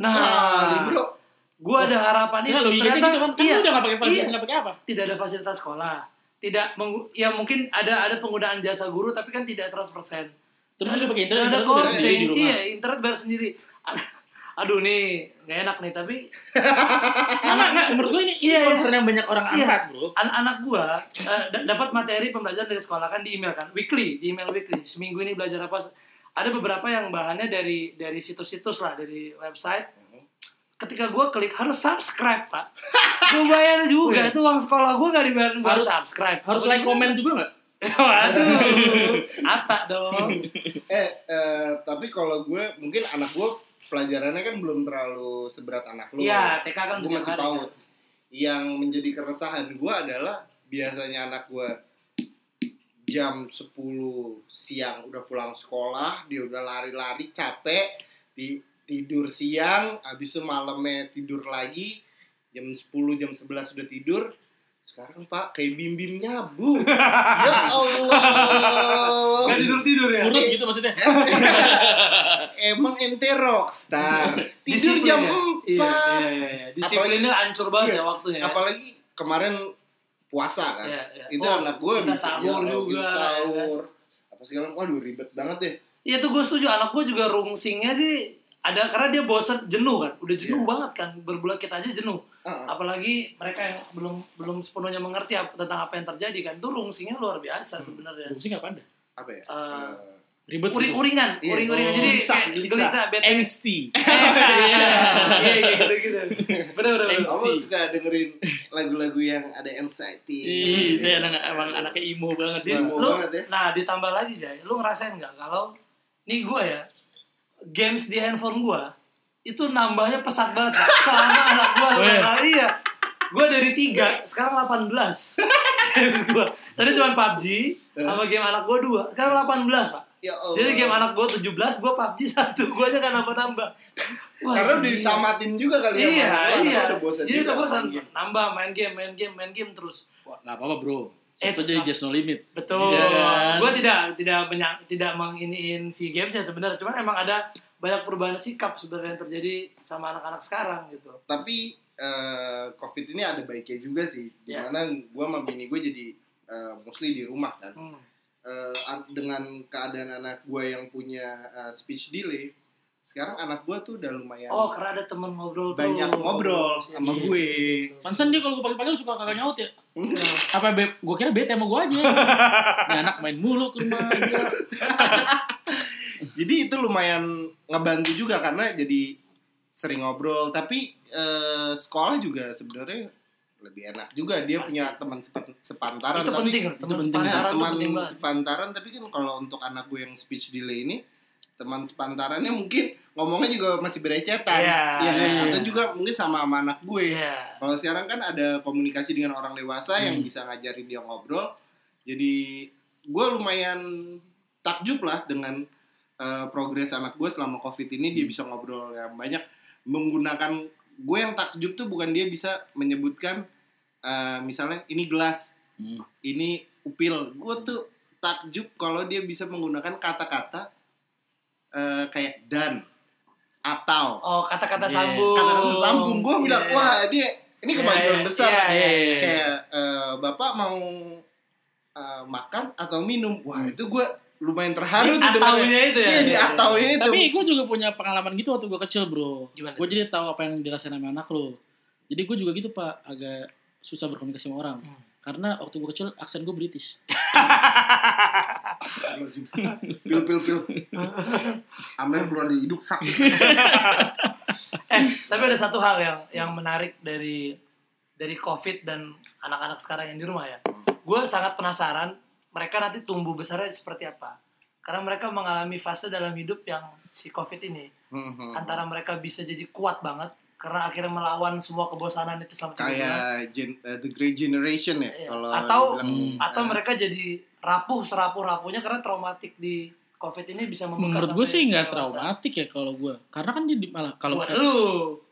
[SPEAKER 3] Nah.
[SPEAKER 2] Ya, ah, libur.
[SPEAKER 3] Gue ada harapan
[SPEAKER 1] Iya, logikanya gitu kan. Kan
[SPEAKER 3] iya,
[SPEAKER 1] lu udah nggak pakai fasilitas,
[SPEAKER 3] iya.
[SPEAKER 1] nggak pakai apa?
[SPEAKER 3] tidak ada fasilitas sekolah tidak menggu- ya mungkin ada ada penggunaan jasa guru tapi kan tidak 100%
[SPEAKER 1] Terus lu pakai internet,
[SPEAKER 3] Nggak ada
[SPEAKER 1] internet lu bayar
[SPEAKER 3] costing
[SPEAKER 1] sendiri di rumah.
[SPEAKER 3] iya internet bayar sendiri Ad- aduh nih nggak enak nih tapi
[SPEAKER 1] Nah, nah, nah, menurut gue ini, ini
[SPEAKER 3] Iya, iya.
[SPEAKER 1] concern yang banyak orang
[SPEAKER 3] Iya.
[SPEAKER 1] angkat, bro.
[SPEAKER 3] an- anak gua eh, d- dapat materi pembelajaran dari sekolah kan di email kan weekly di email weekly seminggu ini belajar apa ada beberapa yang bahannya dari dari situs-situs lah dari website ketika gua klik harus subscribe pak gua bayar juga itu uang sekolah gua nggak dibayar buat
[SPEAKER 1] Harus-
[SPEAKER 3] subscribe
[SPEAKER 1] Harus
[SPEAKER 3] Aku
[SPEAKER 1] like
[SPEAKER 3] juga- Iya.
[SPEAKER 1] komen juga nggak?
[SPEAKER 3] Waduh, apa dong?
[SPEAKER 2] Eh, eh, tapi kalau gue mungkin anak gue pelajarannya kan belum terlalu seberat anak lu.
[SPEAKER 3] Iya, TK kan
[SPEAKER 2] gue
[SPEAKER 3] tiap
[SPEAKER 2] masih
[SPEAKER 3] hari,
[SPEAKER 2] paut.
[SPEAKER 3] kan?
[SPEAKER 2] Yang menjadi keresahan gue adalah biasanya anak gue jam 10 siang udah pulang sekolah, dia udah lari-lari capek, di tidur siang, habis itu malamnya tidur lagi, jam 10 jam 11 udah tidur. Sekarang Pak kayak bim-bim nyabu. ya Allah.
[SPEAKER 3] Gak tidur tidur ya.
[SPEAKER 1] Kurus gitu maksudnya.
[SPEAKER 2] Emang ente rockstar. Tidur
[SPEAKER 3] Disiplin
[SPEAKER 2] jam
[SPEAKER 3] ya?
[SPEAKER 2] 4.
[SPEAKER 3] Iya, iya, iya, iya. Disiplinnya hancur banget
[SPEAKER 2] Iya.
[SPEAKER 3] ya waktunya. ya.
[SPEAKER 2] Apalagi kemarin puasa kan.
[SPEAKER 3] Iya, iya.
[SPEAKER 2] Itu
[SPEAKER 3] Oh,
[SPEAKER 2] anak gue
[SPEAKER 3] kita sahur juga, ya kan?
[SPEAKER 2] sahur. Apa segala waduh ribet banget deh.
[SPEAKER 3] Iya tuh gue setuju anak gue juga rungsingnya sih ada karena dia bosan jenuh kan udah jenuh
[SPEAKER 2] Iya.
[SPEAKER 3] banget kan berbulan kita aja jenuh
[SPEAKER 2] Heeh.
[SPEAKER 3] apalagi mereka yang belum belum sepenuhnya mengerti apa, tentang apa yang terjadi kan tuh rungsingnya luar biasa
[SPEAKER 2] Hmm.
[SPEAKER 3] sebenarnya
[SPEAKER 1] Fungsi nggak anda?
[SPEAKER 2] Apa ya?
[SPEAKER 3] Eh,
[SPEAKER 2] Eh,
[SPEAKER 1] Ribet. gitu.
[SPEAKER 3] uring-uringan
[SPEAKER 2] Iya.
[SPEAKER 3] uring-uringan jadi
[SPEAKER 2] Gelisah,
[SPEAKER 3] kayak
[SPEAKER 2] gelisah.
[SPEAKER 3] gelisah bete
[SPEAKER 1] Angsty.
[SPEAKER 3] iya iya iya, gitu gitu bener bener bener.
[SPEAKER 2] Eh, kamu suka dengerin lagu-lagu yang ada anxiety.
[SPEAKER 1] Ih, saya anak emang anaknya imo banget.
[SPEAKER 2] Dia
[SPEAKER 1] Bang.
[SPEAKER 2] mau
[SPEAKER 3] Lu-
[SPEAKER 2] banget ya.
[SPEAKER 3] nah ditambah lagi Jay lu ngerasain nggak kalau nih gue ya games di handphone gue itu nambahnya pesat banget Pak. selama anak gue
[SPEAKER 1] Weh.
[SPEAKER 3] iya gue dari tiga sekarang 18 games gue tadi cuma PUBG
[SPEAKER 2] Eh.
[SPEAKER 3] sama game anak gue dua sekarang 18 pak
[SPEAKER 2] Ya Allah.
[SPEAKER 3] jadi game anak gue 17 gue PUBG satu gue aja kan nambah-nambah Wah,
[SPEAKER 2] Karena udah
[SPEAKER 3] gila.
[SPEAKER 2] ditamatin juga kali ya.
[SPEAKER 3] iya
[SPEAKER 2] sama lu, anak lu
[SPEAKER 3] iya
[SPEAKER 2] Udah bosan
[SPEAKER 3] jadi
[SPEAKER 2] juga.
[SPEAKER 3] udah
[SPEAKER 2] Iya.
[SPEAKER 3] bosan nambah main game main game main game terus
[SPEAKER 1] Wah, nggak apa-apa bro.
[SPEAKER 3] Eh,
[SPEAKER 1] Itu jadi
[SPEAKER 3] nah.
[SPEAKER 1] just no limit.
[SPEAKER 3] Betul.
[SPEAKER 1] Iya kan?
[SPEAKER 3] Gue tidak tidak menyang, tidak menginiin si games ya sebenarnya. Cuman emang ada banyak perubahan sikap sebenarnya yang terjadi sama anak-anak sekarang gitu.
[SPEAKER 2] tapi eh, covid ini ada baiknya juga sih
[SPEAKER 3] Ya.
[SPEAKER 2] dimana gue sama bini gue jadi eh, mostly di rumah kan
[SPEAKER 3] Hmm.
[SPEAKER 2] Eh, an- dengan keadaan anak gue yang punya eh, speech delay sekarang anak gue tuh udah lumayan
[SPEAKER 3] Oh, karena ada teman ngobrol tuh.
[SPEAKER 2] banyak ngobrol sama
[SPEAKER 3] Iya.
[SPEAKER 2] gue
[SPEAKER 1] Pantesan dia kalau gue panggil-panggil suka kagak nyaut ya.
[SPEAKER 3] Iya.
[SPEAKER 1] Apa beb? Gue kira bete sama gue aja. Ini anak main mulu ke rumah. gila.
[SPEAKER 2] jadi itu lumayan ngebantu juga karena jadi sering ngobrol tapi eh, sekolah juga sebenarnya lebih enak juga dia
[SPEAKER 3] Pasti.
[SPEAKER 2] punya teman sepan- sepantaran
[SPEAKER 3] Itu
[SPEAKER 2] tapi
[SPEAKER 3] penting, loh. teman
[SPEAKER 1] penting.
[SPEAKER 3] sepantaran
[SPEAKER 2] Nah,
[SPEAKER 3] tuh
[SPEAKER 2] teman
[SPEAKER 3] penting banget.
[SPEAKER 2] sepantaran tapi kan kalau untuk anak gue yang speech delay ini teman sepantarannya mungkin ngomongnya juga masih berecetan
[SPEAKER 3] Iya.
[SPEAKER 2] ya kan
[SPEAKER 1] Iya.
[SPEAKER 2] atau juga mungkin sama sama anak gue
[SPEAKER 3] Iya.
[SPEAKER 2] kalau sekarang kan ada komunikasi dengan orang dewasa yang
[SPEAKER 1] Hmm.
[SPEAKER 2] bisa ngajarin dia ngobrol jadi gue lumayan takjub lah dengan eh, progres anak gue selama covid ini
[SPEAKER 1] Hmm.
[SPEAKER 2] dia bisa ngobrol yang banyak menggunakan gue yang takjub tuh bukan dia bisa menyebutkan eh, misalnya ini gelas
[SPEAKER 1] Hmm.
[SPEAKER 2] ini upil gue tuh takjub kalau dia bisa menggunakan kata-kata eh, kayak dan atau
[SPEAKER 3] Oh, kata-kata
[SPEAKER 1] Iya.
[SPEAKER 3] sambung.
[SPEAKER 2] kata-kata sambung gue bilang
[SPEAKER 3] Iya.
[SPEAKER 2] wah dia ini
[SPEAKER 3] Iya,
[SPEAKER 2] kemajuan
[SPEAKER 3] iya,
[SPEAKER 2] besar
[SPEAKER 1] Eh,
[SPEAKER 3] iya, iya.
[SPEAKER 2] kayak eh, bapak mau eh, makan atau minum wah itu gue lumayan terharu tuh dengarnya.
[SPEAKER 3] Ataunya itu Hmm. ya.
[SPEAKER 2] iya di
[SPEAKER 3] Iya.
[SPEAKER 2] ataunya itu
[SPEAKER 1] Tapi gue juga punya pengalaman gitu waktu gue kecil bro.
[SPEAKER 3] Gimana?
[SPEAKER 1] Gue jadi tahu apa yang dirasain sama anak lo. Jadi gue juga gitu pak, agak susah berkomunikasi sama orang.
[SPEAKER 3] Hmm.
[SPEAKER 1] Karena waktu gue kecil aksen gue British.
[SPEAKER 2] pil pil pil Amel keluar dari Hmm, hidung sakit
[SPEAKER 3] Eh, tapi ada satu hal yang yang menarik dari dari COVID dan anak-anak sekarang yang di rumah ya. Gue sangat penasaran mereka nanti tumbuh besarnya seperti apa. Karena mereka mengalami fase dalam hidup yang si COVID ini.
[SPEAKER 2] hmm,
[SPEAKER 3] Antara mereka bisa jadi kuat banget karena akhirnya melawan semua kebosanan itu selama tiga bulan.
[SPEAKER 2] kayak gen- eh, the great generation ya
[SPEAKER 3] Iya.
[SPEAKER 2] kalau
[SPEAKER 3] Atau- hmm,
[SPEAKER 2] dibilang,
[SPEAKER 3] Atau
[SPEAKER 2] eh,
[SPEAKER 3] mereka jadi rapuh serapuh-rapuhnya karena traumatik di COVID ini bisa membekas.
[SPEAKER 1] Menurut gue
[SPEAKER 3] sampai
[SPEAKER 1] sih nggak
[SPEAKER 3] dewasa.
[SPEAKER 1] traumatik ya kalau gue. Karena kan dia di- malah kalau
[SPEAKER 3] Buat lu.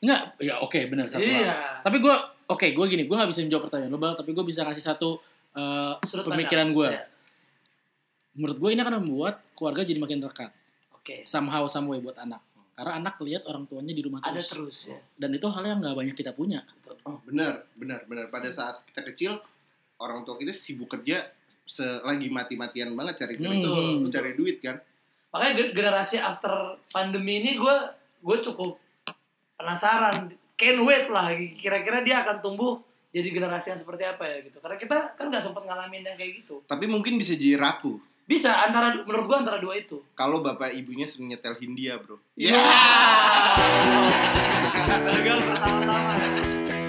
[SPEAKER 1] nggak, ya oke benar satu hal.
[SPEAKER 3] Iya.
[SPEAKER 1] Tapi gue, oke gue gini, gue nggak bisa menjawab pertanyaan lo Bal, tapi gue bisa ngasih satu eh,
[SPEAKER 3] Sudut pandang.
[SPEAKER 1] pemikiran gue.
[SPEAKER 3] Iya.
[SPEAKER 1] Menurut gue ini akan membuat keluarga jadi makin rekat.
[SPEAKER 3] Oke.
[SPEAKER 1] Somehow, some way buat anak. Karena anak lihat orang tuanya di rumah
[SPEAKER 3] Ada
[SPEAKER 1] terus.
[SPEAKER 3] terus ya.
[SPEAKER 1] Dan itu hal yang nggak banyak kita punya.
[SPEAKER 2] Oh benar, benar, benar. Pada saat kita kecil, orang tua kita sibuk kerja, se- lagi mati-matian banget cari duit,
[SPEAKER 3] Betul.
[SPEAKER 1] Hmm.
[SPEAKER 2] cari duit kan.
[SPEAKER 3] makanya gen- generasi after pandemi ini gue gue cukup penasaran can wait lah kira-kira dia akan tumbuh jadi generasi yang seperti apa ya gitu karena kita kan nggak sempat ngalamin yang kayak gitu
[SPEAKER 2] Tapi mungkin bisa jadi rapuh
[SPEAKER 3] bisa antara menurut gue antara dua itu
[SPEAKER 2] kalau bapak ibunya sering nyetel Hindia, bro.
[SPEAKER 3] Gagal bersama-sama